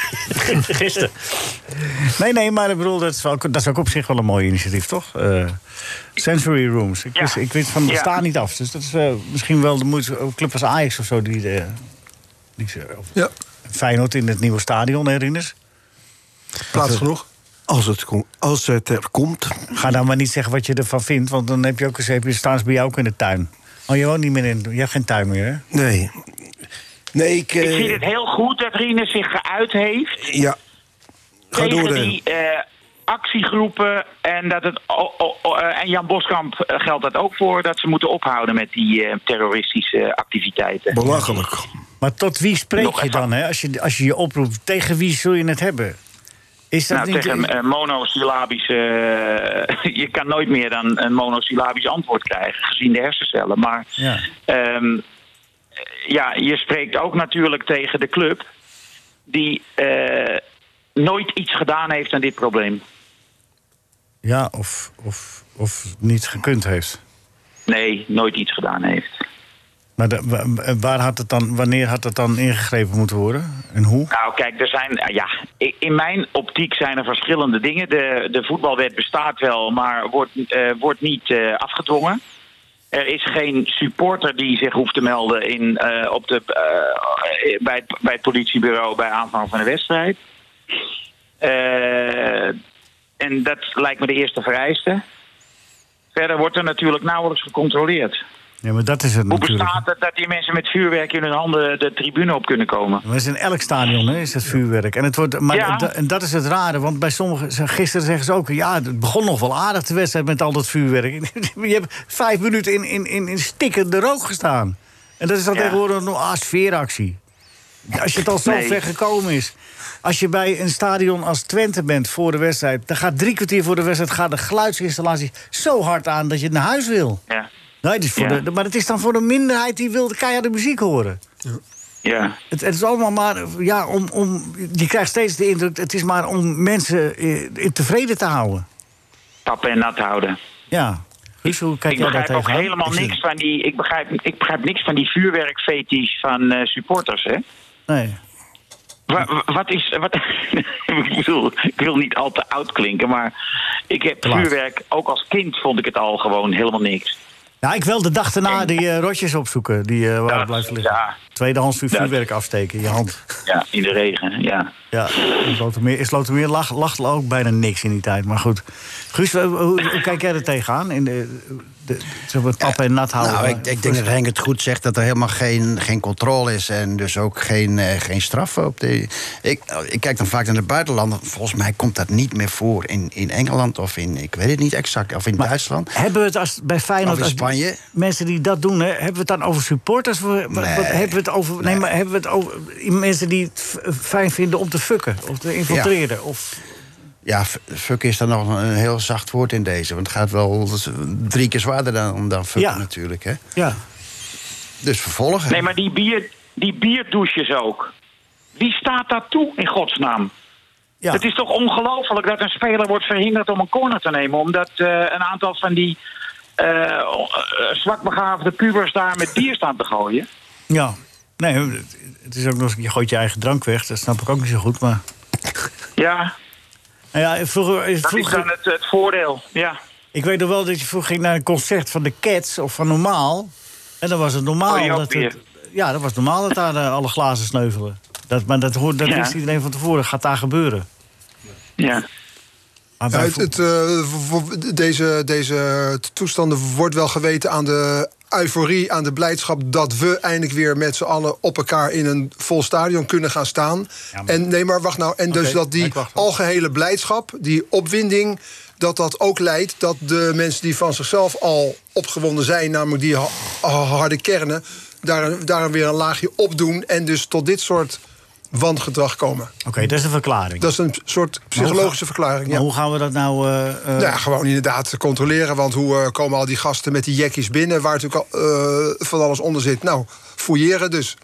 Gisteren.
Nee, nee, maar ik bedoel, dat is, wel, dat is ook op zich wel een mooi initiatief, toch? Eh, sensory rooms. Ik,
Ja.
wist, ik weet van het
Ja.
bestaan niet af. Dus dat is eh, misschien wel de moeite. Een club als Ajax of zo, die, de, die ze- of
Ja,
Feyenoord in het nieuwe stadion, herinners.
plaats genoeg.
Als het, kom- als het er komt.
Ga dan maar niet zeggen wat je ervan vindt, want dan heb je ook eens even, staan ze bij jou ook in de tuin. Oh, je woont niet meer in. Je hebt geen tuin meer, hè?
Nee. Nee, ik. eh,
Ik vind het heel goed dat Rinus zich geuit heeft
ja. Ga
tegen
door,
die
Ren.
eh, actiegroepen. En, dat het, o- o- o- eh, en Jan Boskamp eh, geldt dat ook voor, dat ze moeten ophouden met die eh, terroristische activiteiten.
Belachelijk.
Maar tot wie spreek
Nog
je
even-
dan, hè? Als je, als je je oproept, tegen wie zul je het hebben? Is dat
Nou,
niet...
tegen een eh, monosyllabische. eh, je kan nooit meer dan een monosyllabisch antwoord krijgen, gezien de hersencellen. Maar
Ja.
ehm, ja, je spreekt ook natuurlijk tegen de club die eh, nooit iets gedaan heeft aan dit probleem.
Ja, of, of, of niet gekund heeft.
Nee, nooit iets gedaan heeft.
Maar de- wa- wa- waar had het dan, wanneer had het dan ingegrepen moeten worden? En hoe?
Nou, kijk, er zijn. eh, Ja, i- in mijn optiek zijn er verschillende dingen. De, de voetbalwet bestaat wel, maar wordt, eh, wordt niet eh, afgedwongen. Er is geen supporter die zich hoeft te melden in, eh, op de, eh, bij, het, bij het politiebureau bij aanvang van de wedstrijd. Eh, en dat lijkt me de eerste vereiste. Verder wordt er natuurlijk nauwelijks gecontroleerd.
Ja, maar dat is het
Hoe
natuurlijk.
bestaat het dat die mensen met vuurwerk in hun handen de tribune op kunnen komen?
Maar het is in elk stadion, hè, is dat vuurwerk. En, het wordt, maar
Ja.
da- en dat is het rare, want bij sommigen... ze- Gisteren zeggen ze ook, ja, het begon nog wel aardig de wedstrijd met al dat vuurwerk. Je hebt vijf minuten in, in, in, in stikkende rook gestaan. En dat is dan
Ja.
tegenwoordig nog ah, sfeeractie. Als je het al zo
Nee.
ver gekomen is. Als je bij een stadion als Twente bent voor de wedstrijd... dan gaat drie kwartier voor de wedstrijd gaat de geluidsinstallatie zo hard aan... dat je naar huis wil.
Ja.
Nee, het is voor
Ja.
de, maar het is dan voor de minderheid die wil de keiharde muziek horen.
Ja.
Het, het is allemaal maar, eh, ja, om, om, je krijgt steeds de indruk, het is maar om mensen eh, tevreden te houden.
tappen en nat houden.
Ja. Guus, hoe kijk
Ik
jij daar
begrijp ook
tegenaan?
helemaal
Ik zie-
niks van die. Ik begrijp, ik begrijp niks van die vuurwerkfetisch van eh, supporters, hè?
Nee.
Wa- wa- wat is. Wat, ik, bedoel, ik wil niet al te oud klinken, maar ik heb
laat.
vuurwerk. Ook als kind vond ik het al gewoon helemaal niks.
Ja, ik wil de dag daarna die eh, rotjes opzoeken, die eh waar
Dat-
het blijft liggen.
ja.
Tweedehands vuur-
Dat-
vuurwerk afsteken in je hand.
Ja, in de regen, ja.
Ja, in Slotermeer, in Slotermeer lag, lag ook bijna niks in die tijd. Maar goed. Guus, eh, hoe, hoe kijk jij er tegenaan? In de, de, zeg maar, pap en nat houden?
Nou, ik, ik denk dat Henk het goed zegt dat er helemaal geen, geen controle is en dus ook geen, eh, geen straffen op de. Ik, nou, ik kijk dan vaak naar de buitenlanden. Volgens mij komt dat niet meer voor in, in Engeland of in, ik weet het niet exact, of in Duitsland.
Hebben we het als, bij Feyenoord...
Of in
als
Spanje?
Mensen die dat doen, hè, hebben we het dan over supporters? Wat- wat-
Nee.
wat hebben we het over, nee. maar hebben we het over mensen die het f- eh, fijn vinden om te fucken? Of te infiltreren? Of,
Ja, f- fuck is dan nog een heel zacht woord in deze. Want het gaat wel drie keer zwaarder dan, dan fuck
Ja.
natuurlijk. Hè?
ja.
Dus vervolgen.
Nee, maar die, bier, die bierdouches ook. Wie staat daar toe in godsnaam?
Ja.
Het is toch ongelooflijk dat een speler wordt verhinderd om een corner te nemen. Omdat eh, een aantal van die eh, o- eh, zwakbegaafde pubers daar met bier staan te gooien.
ja. Nee, het- het is ook nog eens, je gooit je eigen drank weg. Dat snap ik ook niet zo goed, maar...
Ja,
Nou ja, vroeger,
dat is
vroeger,
dan het, het voordeel. Ja.
ik weet nog wel dat je vroeger ging naar een concert van de Cats of van Normaal. En dan was het normaal
Oh, die ook
dat...
weer.
Het, ja, dat was normaal dat daar eh, alle glazen sneuvelen. Dat, maar dat, hoort, dat
Ja.
wist iedereen van tevoren. gaat daar gebeuren.
ja.
Maar
Ja,
bij
het,
voet-
het, eh, v- v- deze, deze toestanden wordt wel geweten aan de euforie, aan de blijdschap dat we eindelijk weer met z'n allen op elkaar in een vol stadion kunnen gaan staan.
Ja, maar-
En nee, maar wacht nou. En
Oké,
dus dat
ja,
die
ik wacht wel.
algehele blijdschap, die opwinding, dat dat ook leidt dat de mensen die van zichzelf al opgewonden zijn, namelijk die ha- ha- harde kernen, daar, daar weer een laagje op doen en dus tot dit soort wangedrag komen.
Oké, dat is een verklaring.
Dat is een soort psychologische
Oh,
verklaring.
maar
Ja.
hoe gaan we dat nou... eh, eh,
Nou ja, gewoon inderdaad controleren. Want hoe eh, komen al die gasten met die jekkies binnen... waar natuurlijk al, eh, van alles onder zit? Nou, fouilleren dus.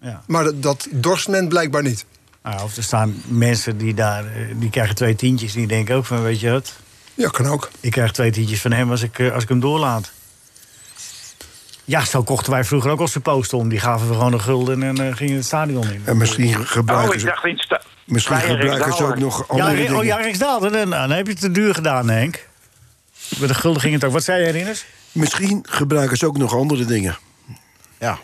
ja.
Maar dat, dat dorst men blijkbaar niet.
Nou ja, of er staan mensen die daar... eh, die krijgen twee tientjes. Die denken ook van, weet je wat...
Ja, kan ook.
Ik krijg twee tientjes van hem als ik, eh, als ik hem doorlaat. Ja, zo kochten wij vroeger ook al supposter om. Die gaven we gewoon een gulden en eh, gingen het stadion in.
En misschien
Oh,
gebruiken
ik
ze,
dacht in sta-
misschien
bij een
gebruiken ze ook
Riksdaalder.
nog
Ja,
andere
Ri-
dingen.
oh, ja, Rijksdaal. Dan, dan, dan heb je het te duur gedaan, Henk. Met de gulden ging het ook. Wat zei jij, Rinus?
Misschien gebruiken ze ook nog andere dingen.
Ja.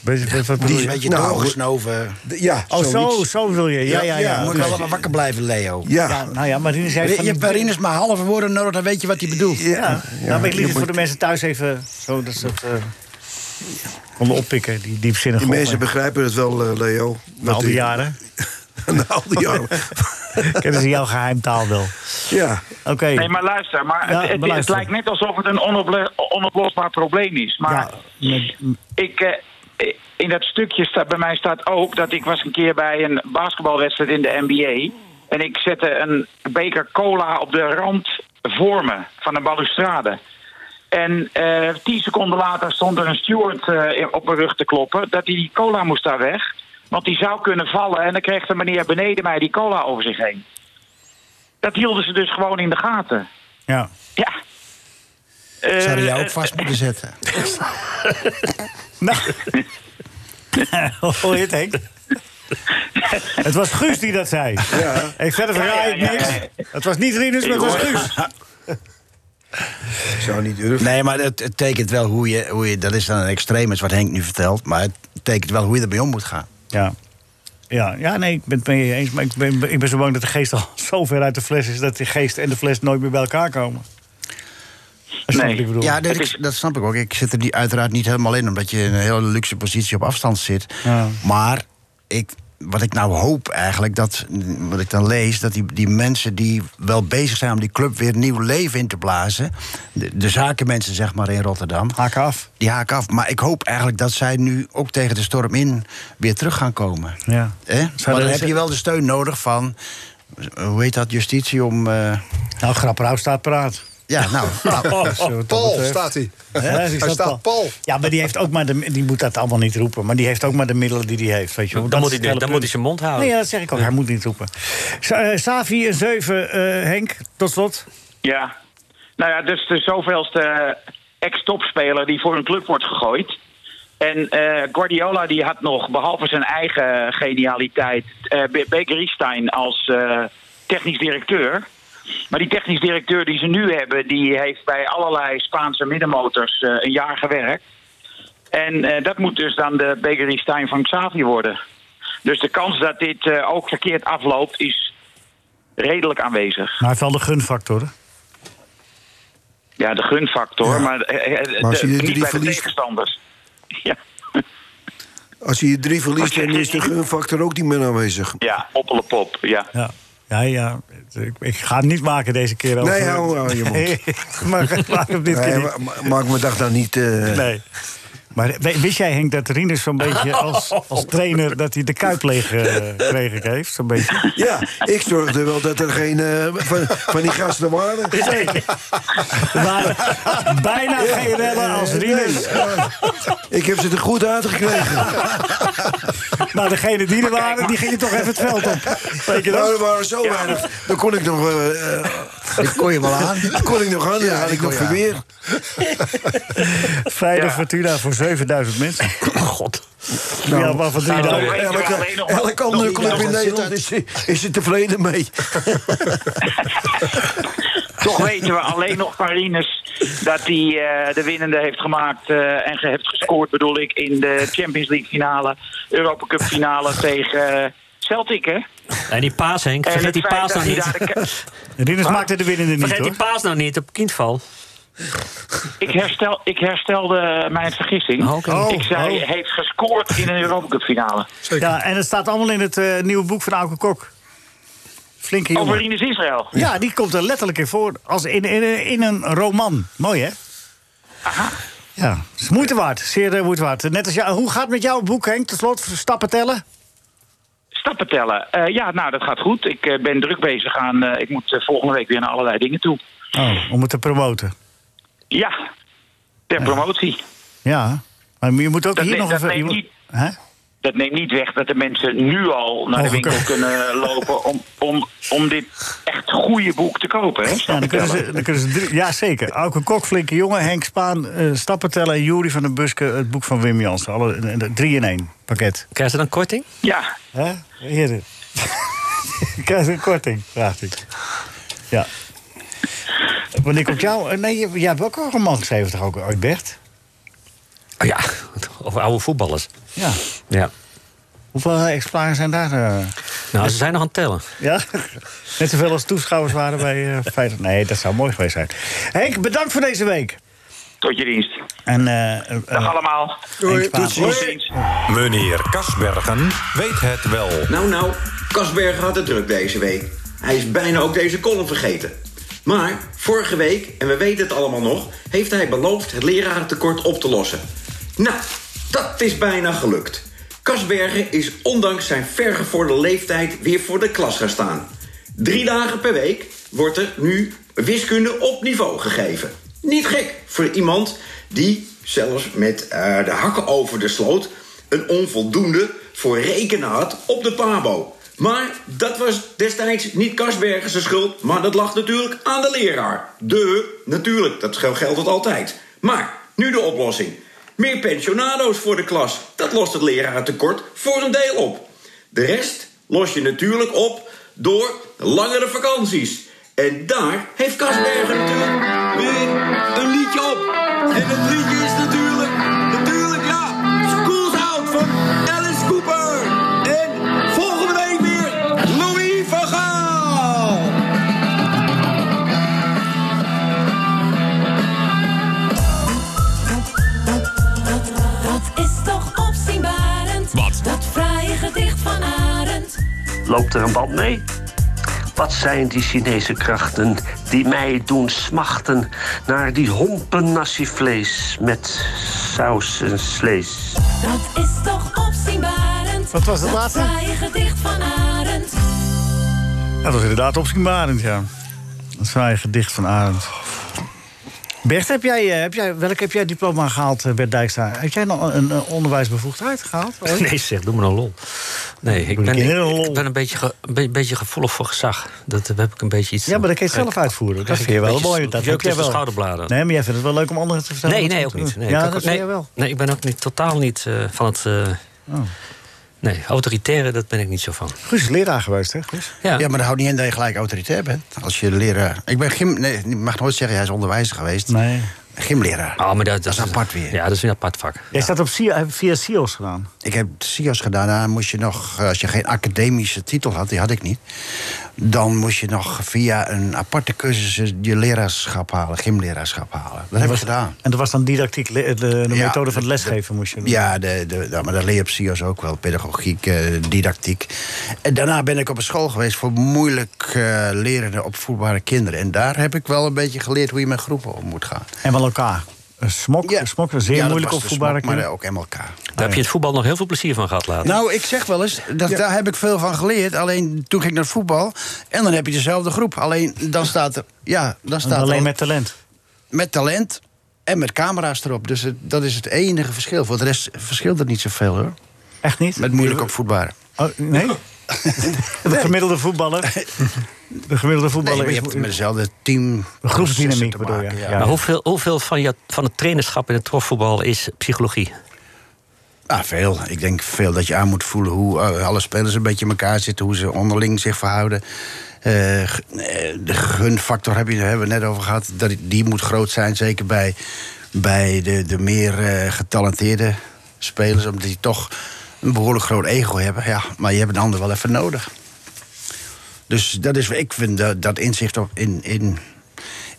bedoel
Die
je?
een beetje
Nou,
doorgesnoven.
D- Ja,
Oh, zo,
zoiets. Dus-
zo wil je. Ja, ja, ja.
Je moet wel wakker blijven, Leo.
Ja.
Ja, nou ja, maar Rinus heeft...
Je
van
hebt
die-
bij Rinus maar halve woorden nodig, dan weet je wat hij bedoelt.
Ja, nou, maar ik liet
je
het voor
moet-
de mensen thuis even zo dat ze het eh, konden oppikken, die diepzinnige
Die mensen
opmerking.
begrijpen het wel, eh, Leo.
Na
Wat
Nou, al die
die-
jaren
Na al die jaren.
kennen ze jouw geheimtaal wel.
ja.
Oké.
Nee, maar luister, maar
Ja,
het, het-
maar
het
luister.
lijkt net alsof het een onople- onoplosbaar probleem is. Maar
Ja, met-
ik, eh, in dat stukje staat, bij mij staat ook dat ik was een keer bij een basketbalwedstrijd in de NBA. En ik zette een beker cola op de rand voor me van een balustrade. En eh, tien seconden later stond er een steward eh, op mijn rug te kloppen dat hij die cola moest daar weg. Want die zou kunnen vallen en dan kreeg de meneer beneden mij die cola over zich heen. Dat hielden ze dus gewoon in de gaten.
ja.
Ja.
Zou
Eh,
je jou ook vast moeten zetten.
Nou. Hoor je het, Henk? het was Guus die dat zei. Ik verder verraai ik
Ja, ja, ja,
niks. Het was niet Rinus, maar het was Guus.
Ik zou niet durven.
Nee, maar het, het tekent wel hoe je, hoe je... Dat is dan een extreem, is wat Henk nu vertelt. Maar het tekent wel hoe je ermee om moet gaan.
Ja. Ja, ja, nee, ik ben het mee eens. Maar ik ben, ik ben zo bang dat de geest al zo ver uit de fles is... dat de geest en de fles nooit meer bij elkaar komen. Dat
Nee.
ik bedoel.
Ja,
Ja,
dat,
Het is-
dat snap ik ook. Ik zit er niet, uiteraard niet helemaal in, omdat je in een hele luxe positie op afstand zit.
Ja.
Maar ik, wat ik nou hoop eigenlijk, dat, wat ik dan lees, dat die, die mensen die wel bezig zijn om die club weer nieuw leven in te blazen, de, de zakenmensen zeg maar in Rotterdam,
Haak af.
die haken af. Maar ik hoop eigenlijk dat zij nu ook tegen de storm in weer terug gaan komen.
Ja.
Hè? Maar
er
dan
eens-
heb je wel de steun nodig van, hoe heet dat, justitie om. eh,
Nou, Grapperhaus staat paraat.
ja, nou.
Dus, eh, wat dat
Paul
betreft-
staat hij.
Hè? Die
Hij staat Paul.
Ja, maar die, heeft ook maar de, die moet dat allemaal niet roepen. Maar die heeft ook maar de middelen die hij heeft. Weet je wel.
Dan
Dat
moet
is
hij-
het hele punt.
dan moet hij zijn mond houden.
Nee, ja, dat zeg ik ook. Hij moet niet roepen. Sa- eh, Savi een 7, eh, Henk, tot slot.
Ja. Nou ja, dus de zoveelste ex-topspeler die voor een club wordt gegooid. En eh, Guardiola die had nog, behalve zijn eigen genialiteit, eh Be- Baker Riestein als eh, technisch directeur. Maar die technisch directeur die ze nu hebben, die heeft bij allerlei Spaanse middenmotors eh, een jaar gewerkt. En eh, dat moet dus dan de Baker Riestein van Xavi worden. Dus de kans dat dit eh, ook verkeerd afloopt is redelijk aanwezig.
Maar hij heeft wel de gunfactor. hè?
Ja, de gunfactor,
Ja.
maar, eh, eh,
Maar als
de-
je die
niet bij de
verliest-
tegenstanders. Ja,
Als je je drie verliest,
Wat
dan is de gunfactor ook niet meer aanwezig.
ja oppelepop, ja.
Ja. Ja, ja. Ik, ik ga het niet maken deze keer. Over.
Nee, hou- hou je mond.
Nee, maar ik maak hem dit keer
Nee,
niet.
ma- ma- maak mijn dag dan niet. eh,
Nee. Maar we- wist jij, Henk, dat Rinus zo'n beetje als, als trainer... dat hij de kuip leeg eh, kreeg heeft? Zo'n beetje.
Ja, ik zorgde wel dat er geen eh, van, van die gasten waren.
Zeker. Er waren bijna geen rellen als
Eh,
Rinus.
nee, eh, ik heb ze er goed uitgekregen.
Maar Nou, degene die er waren, die gingen toch even het veld op. Weet je
Nou, er
dat?
waren zo weinig. Dan kon ik nog. eh, eh,
Ik kon je wel aan.
dan kon ik nog aan. Ja, had ik nog
kon je
verweer.
Vrijdag
Ja.
Fortuna voor 7000 mensen.
God.
ja, maar van
Nou, nog
3000.
eentje waar
Elke,
alleen nog maar-
elke andere
nog-
club
nog-
in Nederland is, is er tevreden mee.
Toch weten we alleen nog van Rinus dat hij eh, de winnende heeft gemaakt eh, en ge- heeft gescoord, bedoel ik, in de Champions League finale, Europa Cup finale tegen eh, Celtic, hè?
En die paas, Henk.
En
Vergeet
het
die
feit
paas
dat
nou
hij
niet.
daar de ke-
Rinus maakte de winnende niet,
Vergeet die
hoor.
paas nou niet op kindval.
Ik, herstel, ik herstelde mijn vergissing.
Oh, oké.
ik zei,
oh.
heeft gescoord in een Europa Cup finale.
Ja, en het staat allemaal in het eh, nieuwe boek van Auke Kok. Flinke
Over
jongen.
Rinus Israël.
Ja, die komt er letterlijk in voor. Als in, in, in een roman. Mooi, hè? Ja, is moeite waard. Zeer eh, moeite waard. Net als jou, hoe gaat het met jouw boek, Henk? Ten slotte, stappen tellen?
Stappen tellen. Eh, ja, nou, dat gaat goed. Ik eh, ben druk bezig aan... eh, ik moet eh, volgende week weer naar allerlei dingen toe.
Oh, om het te promoten.
Ja, ter promotie.
Ja, maar je moet ook
Dat
hier
neemt-
nog
dat
even... je
neemt
moet-
niet-
Hè?
Dat neemt niet weg dat de mensen nu al naar de
Oh, oké.
winkel kunnen lopen... om, om, om dit echt goede boek te kopen, hè?
Ja, dan
Stappen
kunnen
tellen.
ze, dan kunnen ze drie- ja, zeker. Auke Kok, flinke jongen, Henk Spaan, eh stappen tellen... en Juri van den Buske, het boek van Wim Jansen. Alle, eh, eh, drie in één pakket.
Krijgen ze dan korting?
Ja,
Hè? Heren. Krijg je een korting, vraagt ik. Ja. Wanneer komt jou... eh, Nee, je- jij hebt ook al een man geschreven, toch ook ooit, Bert?
Oh ja, over oude voetballers.
Ja.
Ja.
Hoeveel eh, exemplaren zijn daar? eh?
Nou, ze zijn nog aan het tellen.
Ja? Net zoveel als toeschouwers waren bij eh Feyenoord. Nee, dat zou mooi geweest zijn. Henk, bedankt voor deze week.
tot je dienst.
En eh, eh,
Dag allemaal.
Henk Spaan.
Tot ziens.
Tot ziens.
Meneer Kasbergen weet het wel.
Nou, nou, Kasberger had het druk deze week. Hij is bijna ook deze column vergeten. Maar vorige week, en we weten het allemaal nog, heeft hij beloofd het lerarentekort op te lossen. Nou, dat is bijna gelukt. Kasbergen is ondanks zijn vergevorderde leeftijd weer voor de klas gaan staan. Drie dagen per week wordt er nu wiskunde op niveau gegeven. Niet gek voor iemand die, zelfs met eh, de hakken over de sloot, een onvoldoende voor rekenen had op de Pabo. Maar dat was destijds niet Kasbergen zijn schuld, maar dat lag natuurlijk aan de leraar. De, natuurlijk, dat geldt het altijd. Maar nu de oplossing. Meer pensionado's voor de klas. Dat lost het lerarentekort voor een deel op. De rest los je natuurlijk op door langere vakanties. En daar heeft Kasbergen natuurlijk weer een liedje op. En het liedje is natuurlijk, natuurlijk ja, School's Out van Alice Cooper. En volgende week weer Louis van Gaal.
Dat is toch opzienbarend.
Wat?
Dat fraaie gedicht van Arend.
Loopt er een band mee? Wat zijn die Chinese krachten die mij doen smachten naar die hompen nassivlees met saus en vlees?
Dat is toch opzienbarend.
Wat was het laatste?
Dat fraaie gedicht van Arend.
Ja, dat was inderdaad opzienbarend, ja. Dat fraaie gedicht van Arend. Bert, heb jij, eh, heb jij, welk heb jij diploma gehaald, eh, Bert Dijkstra? Heb jij nog een eh, onderwijsbevoegdheid gehaald? ooit?
Nee, zeg, doe me nou lol. Nee, ik ben,
ik heel
ik,
lol.
ben een, beetje ge- een be- beetje gevoelig voor gezag. Dat eh, heb ik een beetje iets...
Ja, maar dat kan je het zelf uitvoeren. Dat
krijg
vind
ik
je
een
wel
beetje
mooi.
s-
Dat
jeuk
heb jij
tussen
wel.
schouderbladen.
Nee, maar jij vindt het wel leuk om anderen te vertellen.
Nee,
wat ze
nee, ook
moeten
niet.
doen.
Nee, ik
ja,
ook-
dat
nee,
vind je wel. Oh.
Nee, ik ben ook niet, totaal niet eh, van het... eh, Nee, autoritaire, dat ben ik niet zo van. Ah,
Guus is leraar geweest, hè? Guus?
Ja,
Ja, maar dat houdt niet in dat je gelijk autoritair bent. Als je leraar... Ik ben gym... Nee, je mag nooit zeggen, hij is onderwijzer geweest.
Nee.
Gymleraar.
Oh, maar dat,
is apart weer.
Ja, dat is een apart vak.
Jij staat op SIA, eh, via SIOS gedaan.
Ik heb CIO's gedaan. Daar moest je nog, eh, als je geen academische titel had, die had ik niet. Dan moest je nog via een aparte cursus je leraarschap halen, gymleraarschap halen. Dat heb ik
was-
gedaan.
En dat was dan didactiek, le- de, de
Ja,
methode van het lesgeven moest je doen.
Ja, de, de, nou, maar dat leer je op CIO's ook wel. Pedagogiek, eh, didactiek. En daarna ben ik op een school geweest voor moeilijk eh, lerende opvoedbare kinderen. En daar heb ik wel een beetje geleerd hoe je met groepen om moet gaan.
En wel elkaar. Een Smok, een smok, een zeer
Ja, dat
moeilijk
was de
opvoedbare
smok, maar
kinderen.
ook MLK.
Ah,
Daar heb je het voetbal nog heel veel plezier van gehad later.
Nou, ik zeg wel eens, dat, daar heb ik veel van geleerd. Alleen toen ging ik naar het voetbal. En dan heb je dezelfde groep. Alleen dan staat er. Ja, dan staat er
alleen
al-
met talent.
met talent en met camera's erop. Dus het- dat is het enige verschil. Voor de rest verschilt het niet zoveel hoor.
Echt niet?
Met moeilijk opvoetbaren.
Oh, nee? De gemiddelde voetballer. De gemiddelde
Nee,
voetballer
maar je
is
hebt met hetzelfde team.
groepsdynamiek
te
bedoel je.
maken, ja.
maar hoeveel, hoeveel van, je, van het trainerschap in het profvoetbal is psychologie?
Ah, veel. Ik denk veel dat je aan moet voelen hoe eh, alle spelers een beetje in elkaar zitten, hoe ze onderling zich verhouden. Eh, g- eh, de gunfactor heb je, daar hebben we het net over gehad. Dat, die moet groot zijn, zeker bij, bij de, de meer eh, getalenteerde spelers, omdat die toch een behoorlijk groot ego hebben. Ja, maar je hebt een ander wel even nodig. Dus dat is, ik vind dat, dat inzicht op in, in,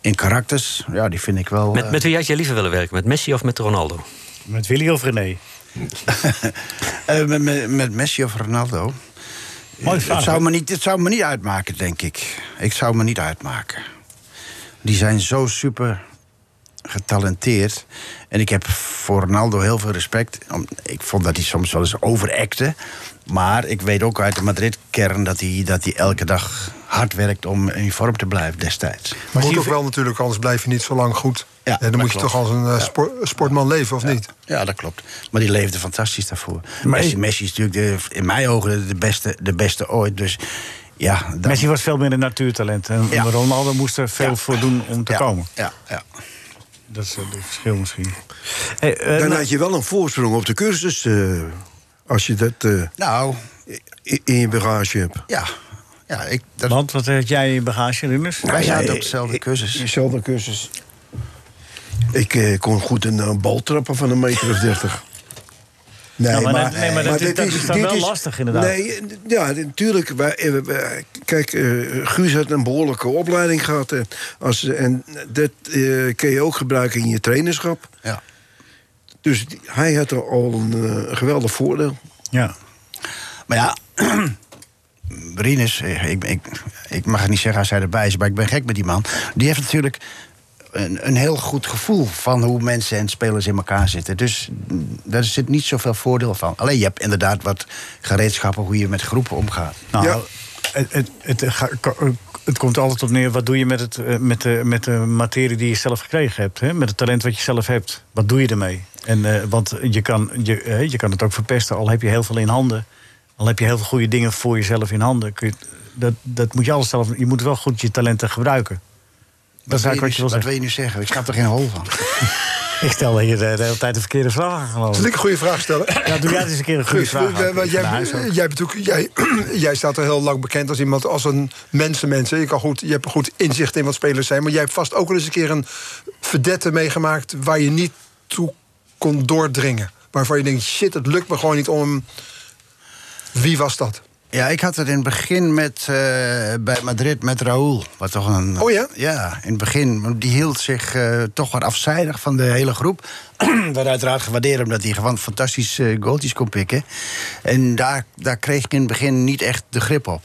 in karakters, ja, die vind ik wel.
Met,
eh,
met wie had je liever willen werken? Met Messi of met Ronaldo?
Met Willy of René?
Eh, met, met, met Messi of Ronaldo.
Mooi
Eh,
vraag,
het, zou
hè?
me niet, het zou me niet uitmaken, denk ik. Ik zou me niet uitmaken. Die zijn zo super getalenteerd. En ik heb voor Ronaldo heel veel respect. Om- Ik vond dat hij soms wel eens overacte. Maar ik weet ook uit de Madrid-kern dat hij, dat hij elke dag hard werkt om in vorm te blijven destijds.
Maar moet ook wel natuurlijk, anders blijf je niet zo lang goed.
Ja,
En dan
dat
moet je
klopt.
toch als een eh, spor- sportman leven, of niet?
Ja, dat klopt. Maar die leefde fantastisch daarvoor.
Maar
Messi,
ik-
Messi is natuurlijk de, in mijn ogen de beste, de beste ooit. Dus ja, dat-
Messi was veel meer een natuurtalent. En
Ja.
Ronaldo moest er veel
Ja.
voor doen om te
ja,
komen.
Ja, ja.
Dat is eh, het verschil misschien. Hey, eh,
Dan
nou-
had je wel een voorsprong op de cursus. eh, als je dat eh,
Nou,
i- in je bagage hebt.
ja. ja ik, dat,
Want wat had jij in je bagage, Rinus?
wij zaten
ja,
op dezelfde cursus.
Dezelfde cursus. Ik eh, kon goed een, eh, bal trappen van een meter of dertig. Nee,
Ja, maar dat- nee, maar dat is- dat is dan wel lastig, inderdaad.
Nee, eh, ja, natuurlijk. wij- eh, wij- Kijk, eh, Guus had een behoorlijke opleiding gehad. eh, als, en dat eh kun je ook gebruiken in je trainerschap.
Ja.
Dus die- hij had er al een eh, geweldig voordeel.
Ja.
Maar ja, Rinus, eh, ik, ik, ik mag het niet zeggen als hij erbij is, maar ik ben gek met die man. Die heeft natuurlijk een, een heel goed gevoel van hoe mensen en spelers in elkaar zitten. Dus mm, daar zit niet zoveel voordeel van. Alleen je hebt inderdaad wat gereedschappen hoe je met groepen omgaat.
Nou,
Ja.
Eh,
het, het, het, eh, ga- ko- het komt altijd op neer, wat doe je met, het, eh, met, de, met de materie die je zelf gekregen hebt? Hè? Met het talent wat je zelf hebt. Wat doe je ermee? En, eh, want je kan, je, eh, je kan het ook verpesten, al heb je heel veel in handen. Al heb je heel veel goede dingen voor jezelf in handen. Kun je, het- dat, dat moet je alles zelf... Je moet wel goed je talenten gebruiken. Dat is
wil
eigenlijk wat je wil
nu-
zeggen.
wil je nu zeggen? Ik snap er geen hol van.
Ik stel hier de, de hele tijd de verkeerde vragen, geloof
Zal
ik.
ik een goede vraag stellen?
Oh. Ja, doe jij eens een keer een goede
Guus,
vraag.
eh,
Harm.
want jij,
Van huis uit.
jij, bent ook- jij, jij staat er heel lang bekend als iemand, als een mensenmens. Je, kan goed, je hebt goed inzicht in wat spelers zijn. Maar jij hebt vast ook wel eens een keer een verdette meegemaakt... waar je niet toe kon doordringen. Waarvan je denkt, shit, het lukt me gewoon niet om... Wie was dat?
Ja, ik had het in het begin met, eh, bij Madrid met Raúl. Wat toch een,
Oh ja?
Ja, in het begin. want Die hield zich eh, toch wat afzijdig van de hele groep. Wat uiteraard gewaardeerd omdat hij gewoon fantastische eh, goaltjes kon pikken. En daar, daar kreeg ik in het begin niet echt de grip op.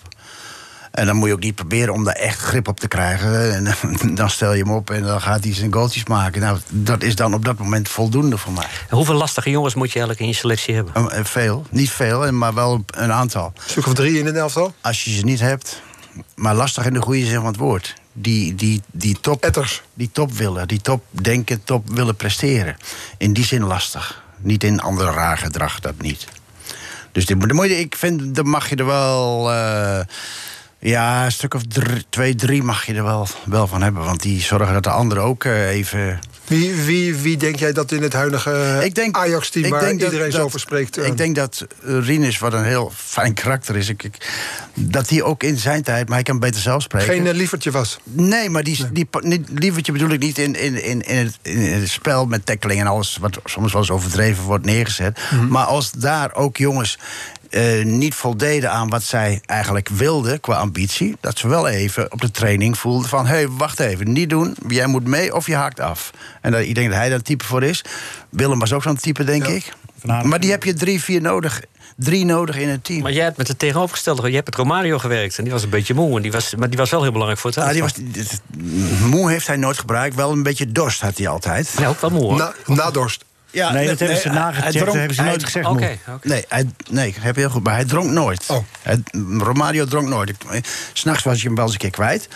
En dan moet je ook niet proberen om daar echt grip op te krijgen. En dan- dan stel je hem op en dan gaat hij zijn goaltjes maken. Nou, dat is dan op dat moment voldoende voor mij.
En hoeveel lastige jongens moet je eigenlijk in je selectie hebben?
Eh, eh, Veel, niet veel, maar wel een aantal
Een stuk of drie in een elftal?
als je ze niet hebt, maar lastig in de goede zin van het woord. Die, die, die, top,
Etters.
die top willen, die top denken, top willen presteren. In die zin lastig. Niet in ander raar gedrag, dat niet. Dus dit, moet- dan moet je- ik vind, dan mag je er wel. eh, ja, een stuk of drie- twee, drie mag je er wel, wel van hebben. Want die zorgen dat de anderen ook eh, even
Wie, wie, wie denk jij dat in het huidige Ajax-team...
ik
waar
denk dat-
iedereen zo
dat-
over spreekt... eh,
Ik denk dat eh, Rinus, wat een heel fijn karakter is... Ik, ik- dat hij ook in zijn tijd, maar hij kan beter zelf spreken...
geen eh, lievertje was?
Nee, maar die, die pa- niet, lievertje bedoel ik niet in, in, in, in, het, in het spel met tackling en alles wat soms wel eens overdreven wordt neergezet. Maar als daar ook jongens eh, niet voldeden aan wat zij eigenlijk wilden qua ambitie, dat ze wel even op de training voelden van hé, hey, wacht even, niet doen, jij moet mee of je haakt af. En dat, ik denk dat hij daar type voor is. Willem was ook zo'n type, denk ik. Maar die heb je drie, vier nodig. Drie nodig in het team.
Maar jij hebt met het tegenovergestelde, je hebt met Romario gewerkt. En die was een beetje moe, en die was, maar die was wel heel belangrijk voor het
Ah, die was,
elftal.
moe heeft hij nooit gebruikt. Wel een beetje dorst had hij altijd.
Ja, ook wel moe hoor.
Na, na dorst.
Ja,
Nee, dat hebben ze
hij-
nagecheckt,
hij
dat
dronk-
hebben ze
hij-
nooit gezegd,
Oké,
Moe.
oké. Nee, hij, nee, heb je heel goed. Maar hij dronk nooit.
Oh.
Hij- Romario dronk nooit. Ik- S'nachts was je hem wel eens een keer kwijt.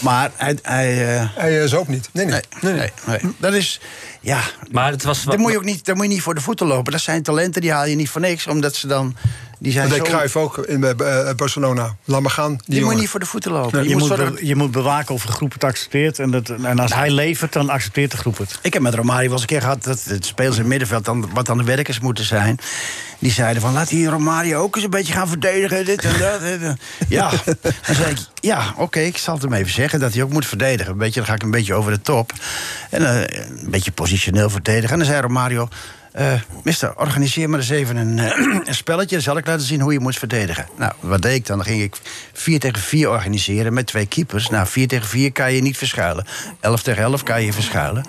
Maar hij... Hij, eh,
Hij is ook niet. Nee, nee.
nee, nee, nee. Dat is... Ja,
Maar het was
daar moet, je ook niet, daar moet je niet voor de voeten lopen. Dat zijn talenten, die haal je niet voor niks. Omdat ze dan... Die zijn
Dat deed
zo...
Cruijff ook in eh, eh, Barcelona. Laat maar gaan, die,
Die moet
jongen.
je niet voor de voeten lopen.
Je,
Je moet
moet
zorgen-
be- je moet bewaken of een groep het accepteert. En, dat, en als hij levert, dan accepteert de groep het.
Ik heb met Romario wel eens een keer gehad dat het spelers in het middenveld, dan, wat dan de werkers moeten zijn. Die zeiden van laat die Romario ook eens een beetje gaan verdedigen. Dit en dat. dit en- Ja, dan zei ik, ja, oké, ik zal het hem even zeggen dat hij ook moet verdedigen. Een beetje, dan ga ik een beetje over de top. En eh, een beetje positioneel verdedigen. En dan zei Romario. eh mister, organiseer maar eens even een, eh, een spelletje. Dan zal ik laten zien hoe je moet verdedigen. Nou, wat deed ik dan? Dan ging ik 4 tegen 4 organiseren met twee keepers. Nou, 4 tegen 4 kan je niet verschuilen. 11 tegen 11 kan je verschuilen.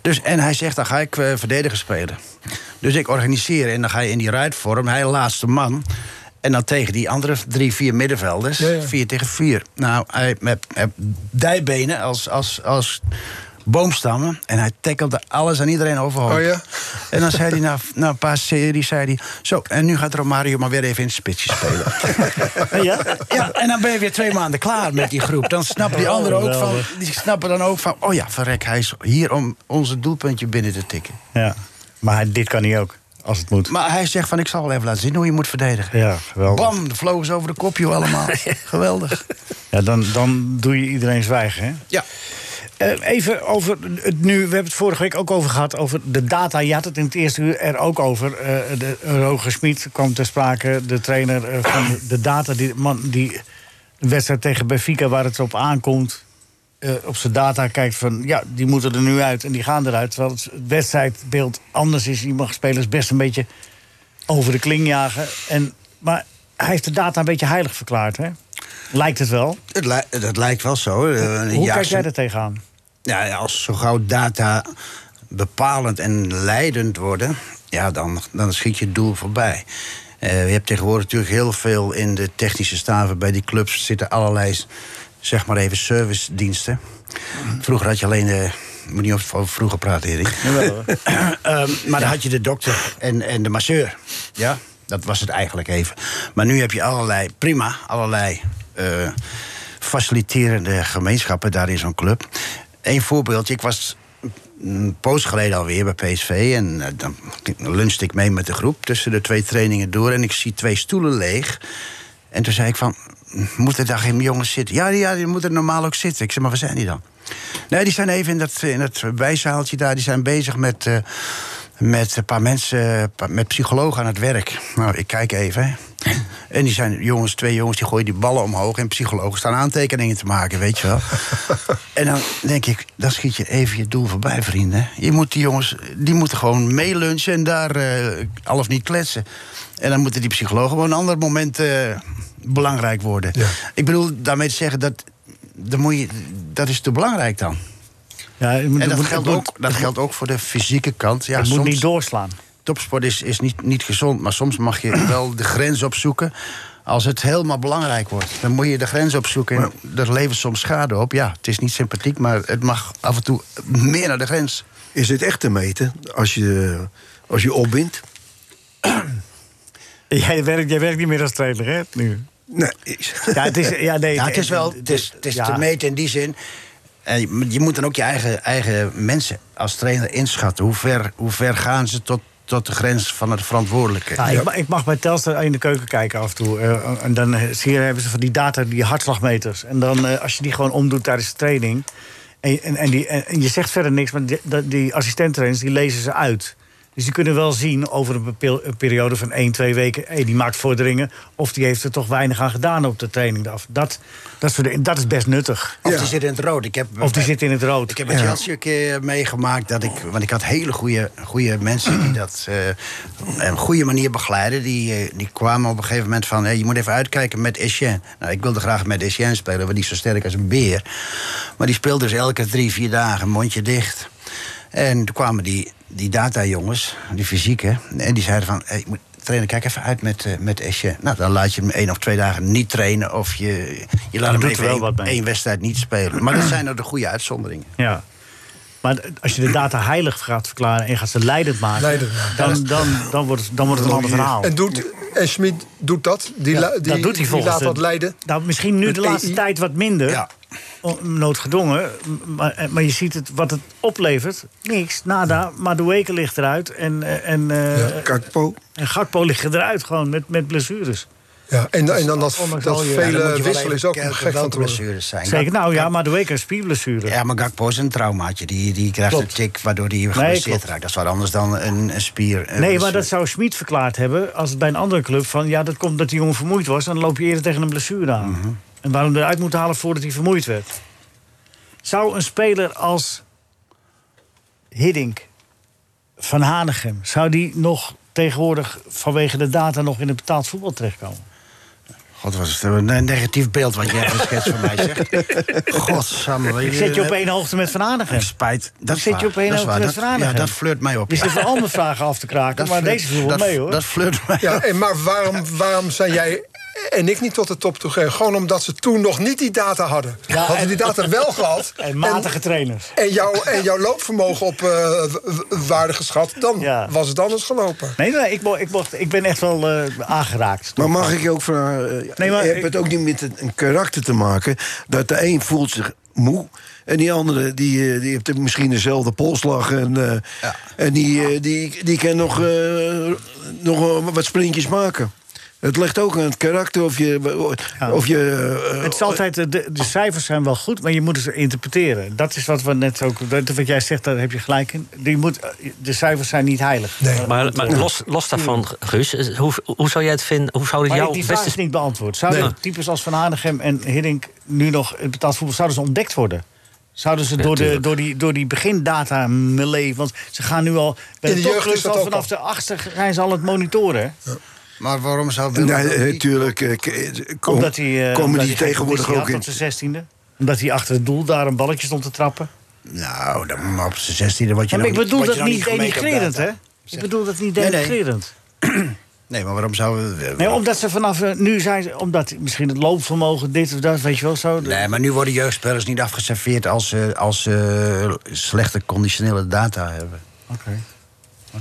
Dus, en hij zegt, dan ga ik eh, verdedigen spelen. Dus ik organiseer en dan ga je in die ruitvorm. Hij laatste man. En dan tegen die andere drie, vier middenvelders. 4 tegen 4. Nou, hij met, met dijbenen als, als, als boomstammen. En hij tackelde alles en iedereen overhoop.
Oh ja?
En dan zei hij na, na een paar series, zei hij... Zo, en nu gaat Romario maar weer even in het spitsje spelen.
Ja?
ja, en dan ben je weer twee maanden klaar met die groep. Dan snappen die anderen ook van... Die snappen dan ook van... Oh ja, verrek, hij is hier om ons doelpuntje binnen te tikken.
ja. Maar hij- dit kan hij ook, als het moet.
Maar hij zegt van, ik zal wel even laten zien hoe je moet verdedigen.
Ja, geweldig.
Bam, de vlogen ze over de kop, joh, allemaal. Geweldig.
Ja, dan, dan doe je iedereen zwijgen, hè?
Ja.
Eh, even over het nu. We hebben het vorige week ook over gehad. Over de data. Je had het in het eerste uur er ook over. Eh de, Roger Smit kwam ter sprake. De trainer eh, van de data. Die, man, die wedstrijd tegen Benfica waar het op aankomt. eh, op zijn data kijkt van. Ja, die moeten er nu uit en die gaan eruit. Terwijl het wedstrijdbeeld anders is. Je mag spelers best een beetje over de kling jagen. En, maar hij heeft de data een beetje heilig verklaard, hè? Lijkt het wel.
Het li- dat lijkt wel zo. Eh, een
Hoe kijk
jaarse-
jij er tegenaan?
Ja, ja, als zo gauw data bepalend en leidend worden, ja, dan, dan schiet je het doel voorbij. Eh, je hebt tegenwoordig natuurlijk heel veel in de technische staven bij die clubs zitten allerlei, zeg maar even, servicediensten. Vroeger had je alleen de. Ik moet niet over vroeger praten, Erik. Ehm, maar dan had je de dokter en, en de masseur. Ja, dat was het eigenlijk even. Maar nu heb je allerlei, prima, allerlei eh, faciliterende gemeenschappen daar in zo'n club. Eén voorbeeldje, ik was een poos geleden alweer bij PSV. En eh, dan lunchte ik mee met de groep tussen de twee trainingen door. En ik zie twee stoelen leeg. En toen zei ik van, moeten daar geen jongens zitten? Ja, ja, die moeten normaal ook zitten. Ik zei, maar waar zijn die dan? Nee, die zijn even in dat, in dat bijzaaltje daar. Die zijn bezig met, eh, met een paar mensen, eh, pa- met psychologen aan het werk. Nou, ik kijk even. hè. En die zijn jongens, twee jongens, die gooien die ballen omhoog. En psychologen staan aantekeningen te maken, weet je wel. en dan denk ik, dan schiet je even je doel voorbij, vrienden. Je moet die jongens, die moeten gewoon meelunchen en daar eh, al of niet kletsen. En dan moeten die psychologen op een ander moment eh, belangrijk worden. Ik bedoel, daarmee te zeggen, dat, dan moet je, dat is te belangrijk dan.
Ja, het moet-
En dat
moet-
geldt
het moet-
ook, dat geldt ook voor de fysieke kant. Ja,
het moet
soms-
niet doorslaan.
topsport is, is niet, niet gezond, maar soms mag je wel de grens opzoeken. Als het helemaal belangrijk wordt, dan moet je de grens opzoeken. En dat levert soms schade op. Ja, het is niet sympathiek, maar het mag af en toe meer naar de grens.
Is dit echt te meten als je, als je opwint?
Jij werkt, jij werkt niet meer als trainer, hè? Nu.
Nee,
Ja, het is, ja, nee,
Ja, het is wel het is, het is
ja.
te meten in die zin. En je- je moet dan ook je eigen, eigen mensen als trainer inschatten. Hoe ver, hoe ver gaan ze tot, tot de grens van het verantwoordelijke?
Ja, Nou, ik, ma- ik mag bij Telstar in de keuken kijken af en toe. eh, en dan eh, zie je, hebben ze van die data, die hartslagmeters. En dan, eh, als je die gewoon omdoet tijdens de training... En, en, en die, en- en je zegt verder niks, maar die, dat- die assistenttrainers die lezen ze uit. Dus die kunnen wel zien over een, bepeel- een periode van 1, 2 weken... Hey, die maakt vorderingen of die heeft er toch weinig aan gedaan op de training. af. Dat, dat, soort dingen, dat is best nuttig.
Of die zit in het rood. Ik heb,
Of die zit in het rood.
Ik heb met Chelsea een keer meegemaakt dat ik. Want ik had hele goede, goede mensen die dat eh, op een goede manier begeleiden. Die, eh, die kwamen op een gegeven moment van. hé, je moet even uitkijken met Etienne. Nou, ik wilde graag met Etienne spelen, want die is zo sterk als een beer. Maar die speelde dus elke drie, vier dagen mondje dicht. En toen kwamen die, die data-jongens, die fysieke, en die zeiden van... Hey, trainer, kijk even uit met, eh, met Esje. Nou, dan laat je hem één of twee dagen niet trainen... of je, je laat hem
doet
even
er wel
één,
wat mee.
één wedstrijd niet spelen. Maar dat zijn nou de goede uitzonderingen.
Ja. Maar d- als je de data heilig gaat verklaren en gaat ze leidend maken...
Leidend maken.
Dan, dan, dan, wordt het, dan wordt het een ander verhaal.
Oh, En, doet, en Schmid doet dat. Die, la- die,
dat doet hij
die
volgens
laat
de-
dat leiden.
Nou, misschien nu
Met
de laatste
AI.
tijd wat minder. O- Noodgedwongen. M- Maar, eh, maar je ziet het, wat het oplevert. Niks, nada. Maar de Weken ligt eruit. En, eh, en, eh,
Kakpo.
en Gakpo ligt eruit gewoon met, met blessures.
Ja, en, en dan dat,
Ondanks
dat
al je-
Ja, dan moet
vele
je wel
wisselen is
even
ook
kijken
gek van
welke
te worden.
blessures zijn.
Zeker, nou ja, maar de Weken is spierblessure.
Ja, maar Gakpo is een traumaatje. Die, die krijgt
Klopt.
een tik waardoor hij geblesseerd
klopt.
raakt. Dat is wat anders dan een, een spier. eh,
Nee, maar dat zou Schmid verklaard hebben als het bij een andere club van ja, dat komt dat die jongen vermoeid was, dan loop je eerder tegen een blessure aan.
Mhm.
En waarom eruit moeten halen voordat hij vermoeid werd. Zou een speler als Hiddink van Hanegem, zou die nog tegenwoordig vanwege de data nog in het betaald voetbal terechtkomen?
God, was het een een negatief beeld wat jij geschetst van mij zegt. Godsamme.
Ik zet je op één hoogte met Van Hanegem.
Spijt. Dat
Ik
is
zit
waar,
je op één
dat is
hoogte
waar.
met
Dat-
Van Hanegem.
Ja, dat flirt mij op.
Je
ja.
zit wel allemaal vragen af te kraken,
Dat
maar
flirt-
deze viel wel
dat-
mee hoor.
Dat flirt mij
Ja, en maar waarom, waarom zijn jij en ik niet tot de top toegegaan? Gewoon omdat ze toen nog niet die data hadden.
Ja,
hadden
en-
die data wel gehad.
En matige trainers.
En, jouw, en jouw loopvermogen op eh, w- w- waarde geschat, dan
Ja.
was het anders gelopen.
Nee, nee, ik, mo- ik, mocht, ik ben echt wel eh, aangeraakt.
Maar mag ik je ook vragen?
Nee,
Nee,
maar
maar
ik-
hebt het ook niet met een- een karakter te maken. Dat de een voelt zich moe. En die andere, die, eh, die heeft misschien dezelfde polslag. En, eh, en die, eh, die, die kan nog, eh, nog wel wat sprintjes maken. Het ligt ook aan het karakter of je... Of je eh,
Het is altijd, eh, de, de cijfers zijn wel goed, maar je moet ze interpreteren. Dat is wat we net ook. dat- Wat jij zegt, daar heb je gelijk in. Die moet, eh, de cijfers zijn niet heilig. Nee,
Maar, maar los, los daarvan, Guus, is- hoe, hoe zou jij het vinden? Hoe zouden jouw
die vraag
beste
is niet beantwoord. Zouden
Nee.
types als Van Hanegem en Hiddink nu nog het betaald voetbal zouden ze ontdekt worden? Zouden ze door, de,
tuurlijk.
door, die, door die begindata melee... Want ze gaan nu al... Bij
In
de
de jeugd is
topclubs
dat
al
ook
vanaf
al.
de achtste gaan ze al het monitoren. hè?
Maar waarom zou Willem dat
eh, Nee,
niet?
natuurlijk. eh, k- kom-
omdat die, eh,
komen
omdat
die
hij geen
tegenwoordig
competitie
ook
had
in.
Tot zijn zestiende. Omdat hij achter het doel daar een balletje stond te trappen.
Nou, dan, maar op zijn 16e wat je
Ja, maar
nog-
ik bedoel
word je
dat
nog
niet
gemeten op
denigrerend,
data.
hè? Ik bedoel dat niet
Nee, nee.
denigrerend.
Nee, maar waarom zouden we...
Nee, omdat ze vanaf eh, nu zijn, ze- omdat misschien het loopvermogen, dit of dat, weet je wel zo.
Nee, maar nu worden jeugdspelers niet afgeserveerd als ze als, ze slechte conditionele data hebben.
Oké.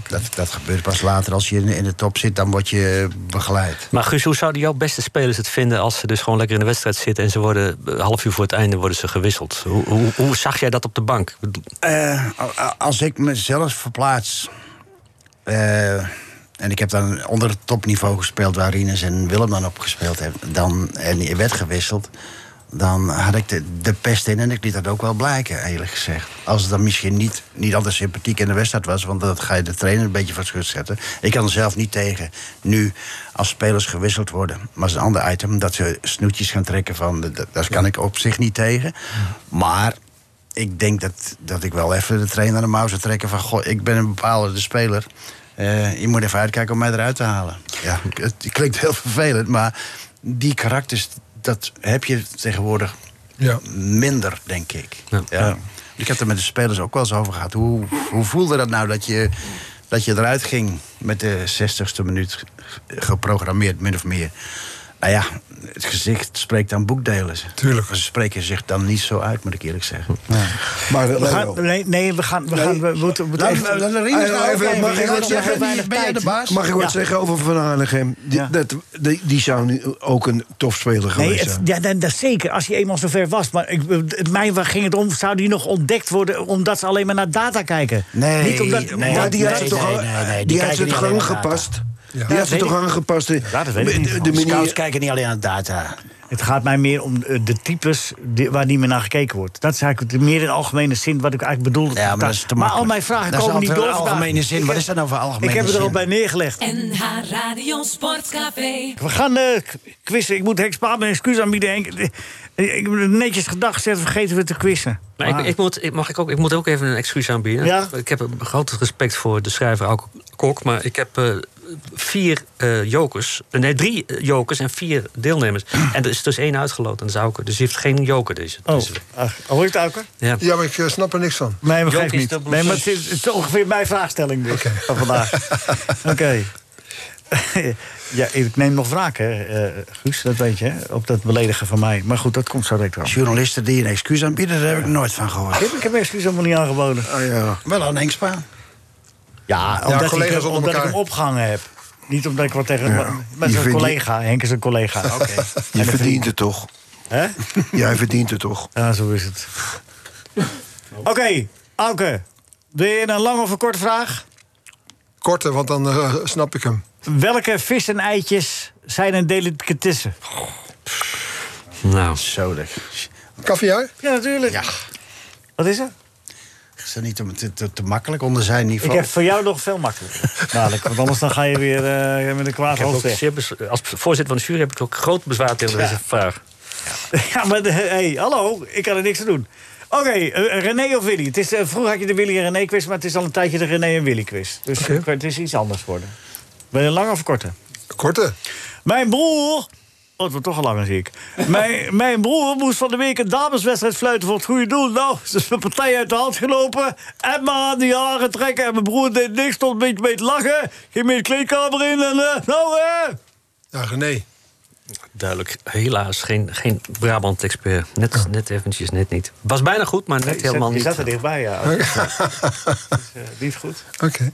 Dat, dat gebeurt pas later. Als je in, in de top zit, dan word je begeleid.
Maar Guus, hoe zouden jouw beste spelers het vinden als ze dus gewoon lekker in de wedstrijd zitten en ze worden eh, half uur voor het einde worden ze gewisseld? Hoe, hoe, hoe zag jij dat op de bank?
Eh, a- a- als ik mezelf verplaats... eh, en ik heb dan onder het topniveau gespeeld... waar Rinus en Willem dan op gespeeld hebben... Dan, en je werd gewisseld... dan had ik de, de pest in en ik liet dat ook wel blijken, eerlijk gezegd. Als het dan misschien niet, niet altijd sympathiek in de wedstrijd was... want dat ga je de trainer een beetje voor het schut zetten. Ik kan er zelf niet tegen nu als spelers gewisseld worden. Maar dat is een ander item, dat ze snoetjes gaan trekken van... dat- daar kan ik op zich niet tegen. Maar ik denk dat, dat ik wel even de trainer aan de mouw zou trekken van... Goh, ik ben een bepaalde speler. Eh, je moet even uitkijken om mij eruit te halen. Ja, het klinkt heel vervelend, maar die karakters... dat heb je tegenwoordig
Ja.
minder, denk ik. Ja. Ik heb er met de spelers ook wel eens over gehad. Hoe, hoe voelde dat nou dat je, dat je eruit ging met de 60ste minuut geprogrammeerd, min of meer? Nou ja, het gezicht spreekt aan boekdelen. Tuurlijk. Ze spreken zich dan niet zo uit, moet ik eerlijk zeggen.
Maar eh,
We
Leo,
gaan, nee, nee, we gaan. We, gaan, we moeten. we moeten
Laat-
even-
laat- laat
Ah,
Rinus
ja,
nou ook
even,
even.
mag ik
Je
wat
hebt nog
zeggen?
weinig Ben jij de
tijd.
baas?
Mag ik wat
Ja.
zeggen over Van Hanegem? Die,
Ja.
dat, die, die zou nu ook een topspeler geweest
Nee, het-
zijn.
ja, dat, dat zeker, als je eenmaal zover was. Maar ik, het, mij ging het om, zou die nog ontdekt worden omdat ze alleen maar naar data kijken?
Nee,
Niet omdat,
nee,
maar die had
nee,
ze toch
nee,
al-
nee, nee, die
die had
kijken
ze
niet
toch
alleen naar
aangepast?
data.
Die had ze
weet
toch
ik.
aangepast?
dat weet ik niet.
De, de
Scouts
manier,
kijken niet alleen naar data.
Het gaat mij meer om eh, de types die- waar niet meer naar gekeken wordt. Dat is eigenlijk meer in algemene zin wat ik eigenlijk bedoelde. Ja, maar, al mijn vragen
Dat is
komen niet
altijd
door.
een algemene
vandaag.
zin.
Ik
Wat
heb-
is dat nou voor algemene
Ik heb het er al
zin?
bij neergelegd.
NH Radio Sportcafé.
We gaan eh, k- quizzen. Ik moet Henk Spaat mijn excuus aanbieden. Henk. Eh, Ik heb het netjes gedacht, zeg, vergeten we te quizzen.
Maar ik,
Ah.
ik, moet, ik, mag ik, ook, ik moet ook even een excuus aanbieden.
Ja?
Ik heb een groot respect voor de schrijver Auke Kok. Maar ik heb eh, vier eh, jokers. Nee, drie eh, jokers en vier deelnemers. en er is dus één uitgeloten. En dat is Auke. Dus die heeft geen joker deze.
Oh,
deze week.
ah, hoor je het, Auker?
Ja.
Ja, maar ik eh, snap er niks van.
Nee, maar geeft
Joop is
niet.
dubbel
Nee, maar het
zes.
is, het is ongeveer mijn vraagstelling dus van vandaag. Oké. ja, ik neem nog wraak, hè, eh, Guus, dat weet je, hè, op dat beledigen van mij. Maar goed, dat komt zo direct wel.
Journalisten die een excuus aanbieden, daar heb ik nooit van
Ik
gehoord.
heb, ik heb mijn excuus helemaal niet aangeboden.
Oh,
Wel aan Engspa.
Ja, omdat, ik, hem- omdat ik hem opgehangen heb. Niet omdat ik wat tegen hem... maar het is een collega. Henk is een collega. Oké.
Je verdient het toch?
Hè?
Jij verdient het toch?
Ja, zo is het. Oké, Auke. Wil je een lange of een korte vraag?
Korte, want dan eh, snap ik hem.
Welke vis en eitjes zijn een delicatesse?
Nou.
Zo
Kaviaar?
Ja, natuurlijk.
Ja.
Wat is er?
Is dat niet te, te- te- te makkelijk onder zijn
Ik
niveau?
heb voor jou nog veel makkelijker. Dadelijk, want anders dan ga je weer eh, met een kwaad
Ik heb ook
hoofd weg.
zeer bes- als voorzitter van de jury heb ik ook groot bezwaar tegen deze vraag.
Ja, maar de- hey, hallo, ik kan er niks aan doen. Oké, eh, René of Willy? Het is, eh, vroeger had je de Willy en René quiz, maar het is al een tijdje de René en Willy quiz. Dus eh, het is iets anders geworden. Ben je lang of korte?
Korte.
Mijn broer. Oh, het wordt toch al langer, zie ik. Mijn, mijn broer moest van de week een dameswedstrijd fluiten voor het goede doel. Nou, ze is mijn partij uit de hand gelopen. En maar aan de jaren trekken. En mijn broer deed niks, stond een beetje mee te lachen. Ging mee de kleedkamer in en... eh, nou, hè?
Ja, René.
Duidelijk, helaas geen, geen Brabant-expert. Net, net eventjes, net niet. Was bijna goed, maar net
Nee, je zat-
helemaal
je
niet.
zat er dichtbij, ja.
Oké.
Dus, eh, niet goed.
Oké.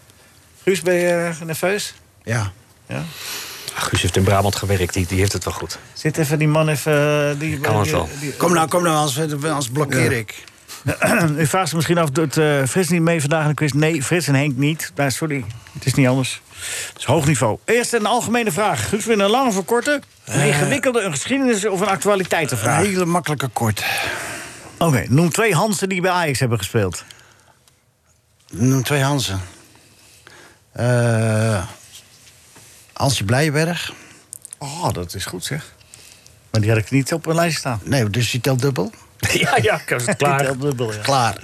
Guus, ben je eh, nerveus?
Ja.
Ja.
Ach, Guus heeft in Brabant gewerkt, die, die heeft het wel goed.
Zit even die man even... eh, Die,
Kan het
die-
wel.
die-
Kom nou, kom nou, anders, anders blokkeer
Ja.
ik.
U vraagt zich misschien af, doet eh, Frits niet mee vandaag in de quiz? Nee, Frits en Henk niet. Nou, sorry, het is niet anders. Het is hoog niveau. Eerst een algemene vraag. Guus, wil je een lange of een korte? Een
Eh.
ingewikkelde, een geschiedenis of een actualiteitenvraag?
Een hele makkelijke kort.
Oké, noem twee Hansen die bij Ajax hebben gespeeld.
Noem twee Hansen. Eh Hansje Blijenberg.
Oh, dat is goed zeg. Maar die had ik niet op mijn lijst staan.
Nee, dus die telt dubbel.
Ja, ja, ik was het
Die
klaar.
telt dubbel, ja.
Klaar.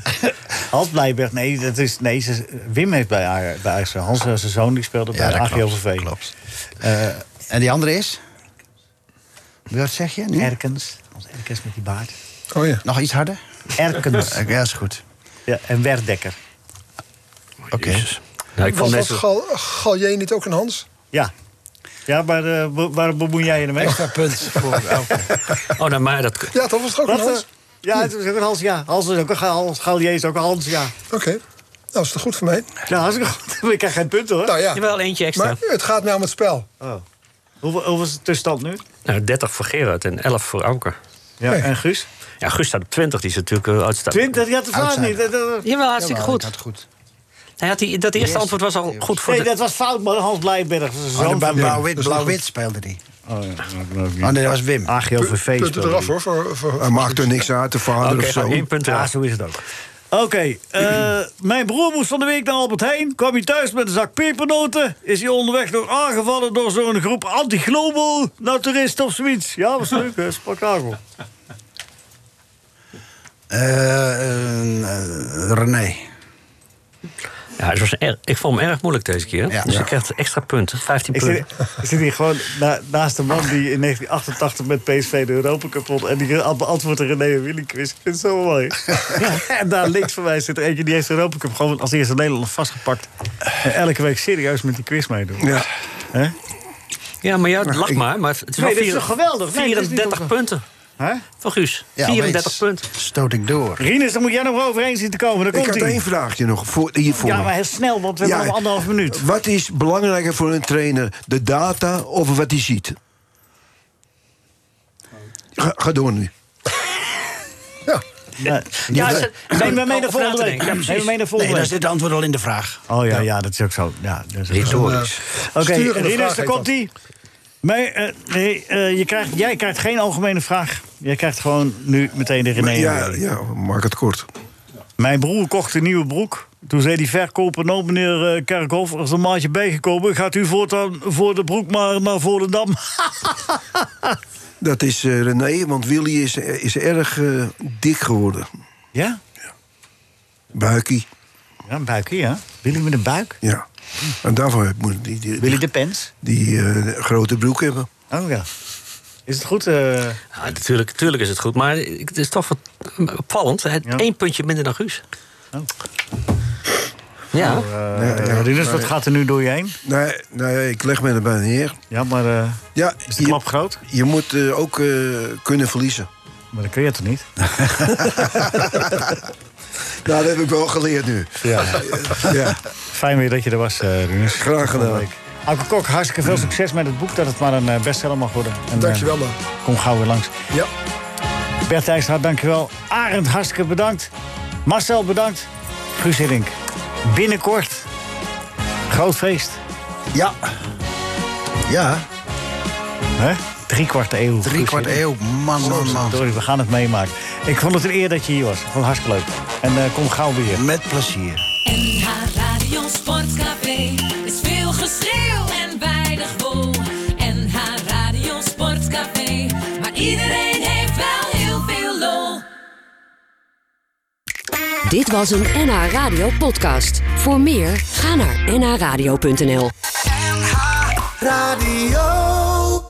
Hans Blijberg, nee, dat is, nee ze- Wim heeft bij Aj- bij Ajax. Hans, eh, zijn zoon, die speelde bij
dat
AGOVV.
Klopt. Eh, en die andere is? Wat zeg je? Nu?
Erkens, Hans Erkens met die baard.
Oh ja.
Nog iets harder?
Erkens.
Oké, Ja, is goed.
Ja, en Werdekker.
Oké.
Ja, ik vond
Was, was
net zo-
Gal, Gallier niet ook een Hans?
Ja. Ja, maar eh, be- waar bemoei jij je ermee?
Extra punt voor Elke.
Oh, nou, maar dat...
Ja, toch was het ook
Wat,
een Hans?
eh, ja, het is ook een Hans, ja. Hans is ook een Hans. Galier is ook een Hans, ja.
Oké. Nou, is het goed voor mij?
Ja, hartstikke goed. Ik krijg geen punten, hoor.
Nou ja.
Jawel, eentje extra.
Maar het gaat mij om het spel.
Oh. Hoeveel, hoeveel is de tussenstand nu?
Nou, 30 voor Gerard en 11 voor Auker.
Ja,
Nee.
en Guus?
Ja, Guus staat op 20, die is natuurlijk uh, uitstekend.
20? Je had de vraag niet. Dat, dat-
Jawel, hartstikke
Jawel, ik
goed.
had het goed.
Hij had die, dat eerste antwoord was al goed voor
Nee,
de...
dat was fout, maar Hans Blijberg. zijn
Oh,
Zoon
de bij
van Wim.
Blauw-Wit Blauw-Wit speelde die.
Oh, ja, dat ook niet.
Oh nee, dat was Wim.
AGOVV
Punten
speelde
eraf
die.
hoor. Voor, voor...
Hij maakt er niks uit, de vader
Oké,
of zo.
nou, één punt
Ja,
eraf.
zo is het ook. Oké, eh, mijn broer moest van de week naar Albert Heijn. Kwam hij thuis met een zak pepernoten. Is hij onderweg nog aangevallen door zo'n groep anti-global naturisten of zoiets. Ja, was leuk, hè? Spektakel.
Eh eh, René.
Ja, het was een erg- ik vond hem erg moeilijk deze keer.
Ja.
Dus
Ja.
ik kreeg extra punten, 15
Ik
punten.
zit, ik zit hier gewoon na- naast de man die in 1988 met PSV de Europa Cup won. En die re- beantwoordt de René en Willy quiz. Ik vind het zo mooi. En daar links van mij zit er eentje die heeft de Europa Cup gewoon als eerste Nederlander vastgepakt. En elke week serieus met die quiz meedoen.
Ja. Nou,
Hè?
Ja, maar ja, lach maar. maar het is
Nee,
wel
dit is
vier-
toch geweldig? Nee, dit is niet
34
toch-
punten
Hè?
voor Guus.
Ja,
34
weet-
punten.
Stoot ik door.
Rinus, daar moet jij nog wel overheen zien te komen. Daar
Ik
komt
had één
hij.
vraagje nog voor, hiervoor.
Ja, maar heel snel, want we
Ja,
hebben nog anderhalf minuut.
Wat is belangrijker voor een trainer? De data of wat hij ziet? Ga, ga door nu.
Ja.
Ja,
Ja,
ja,
ze-
neem me mee naar
Over na te
volgende week.
denken. Ja,
Neem me
precies.
mee naar
Nee,
volgende
daar
week.
zit het antwoord al in de vraag.
Oh ja, ja, dat is ook zo. Ja, dat is ook zo.
Retorisch.
Oké,
Sturende
Rinus,
vraag
daar
heet
komt
dat.
hij. Maar eh, nee, eh, je krijgt, jij krijgt geen algemene vraag. Jij krijgt gewoon nu meteen de René.
Ja, ja, maak het kort.
Mijn broer kocht een nieuwe broek. Toen zei die verkoper, nou meneer eh, Kerkhoff, er is een maatje bijgekomen. Gaat u voortaan voor de broek maar naar Volendam?
Dat is eh, René, want Willy is, is erg eh, dik geworden.
Ja?
Buikie.
Ja, een buikje, ja. Willy met een buik?
Ja. En daarvoor moet die, die,
Willy de pens?
die eh, grote broek hebben.
Oh ja. Is het goed? eh?
Ja, natuurlijk, natuurlijk is het goed, maar het is toch wat opvallend. Het Eén puntje minder dan Guus. Ja.
Oh. Nou, eh, Rinus, wat gaat er nu door je heen?
Nee, nee ik leg me er bijna neer.
Ja, maar eh,
Ja,
is de
je,
klap groot?
je moet eh, ook eh, kunnen verliezen.
Maar dat kun je toch niet?
Nou, dat heb ik wel geleerd nu.
Ja.
Ja.
Fijn weer dat je er was, eh Rinus.
Graag gedaan.
Auke Kok, hartstikke
Mm.
veel succes met het boek. Dat het maar een eh, bestseller mag worden. En, eh,
Dankjewel, man.
Kom gauw weer langs.
Ja.
Bert Dijkstra, dankjewel. Arend, hartstikke bedankt. Marcel, bedankt. Guus Hiddink, binnenkort. Groot feest.
Ja. Ja,
Hè? Drie kwart eeuw.
drie kwart eeuw. Man, man, man.
Sorry, we gaan het meemaken. Ik vond het een eer dat je hier was. Ik vond het hartstikke leuk. En eh, kom gauw weer.
Met plezier.
NH Radio Sportcafé is veel geschreeuw en weinig wol. NH Radio Sportcafé, maar iedereen heeft wel heel veel lol.
Dit was een NH Radio podcast. Voor meer, ga naar nhradio.nl.
Radio.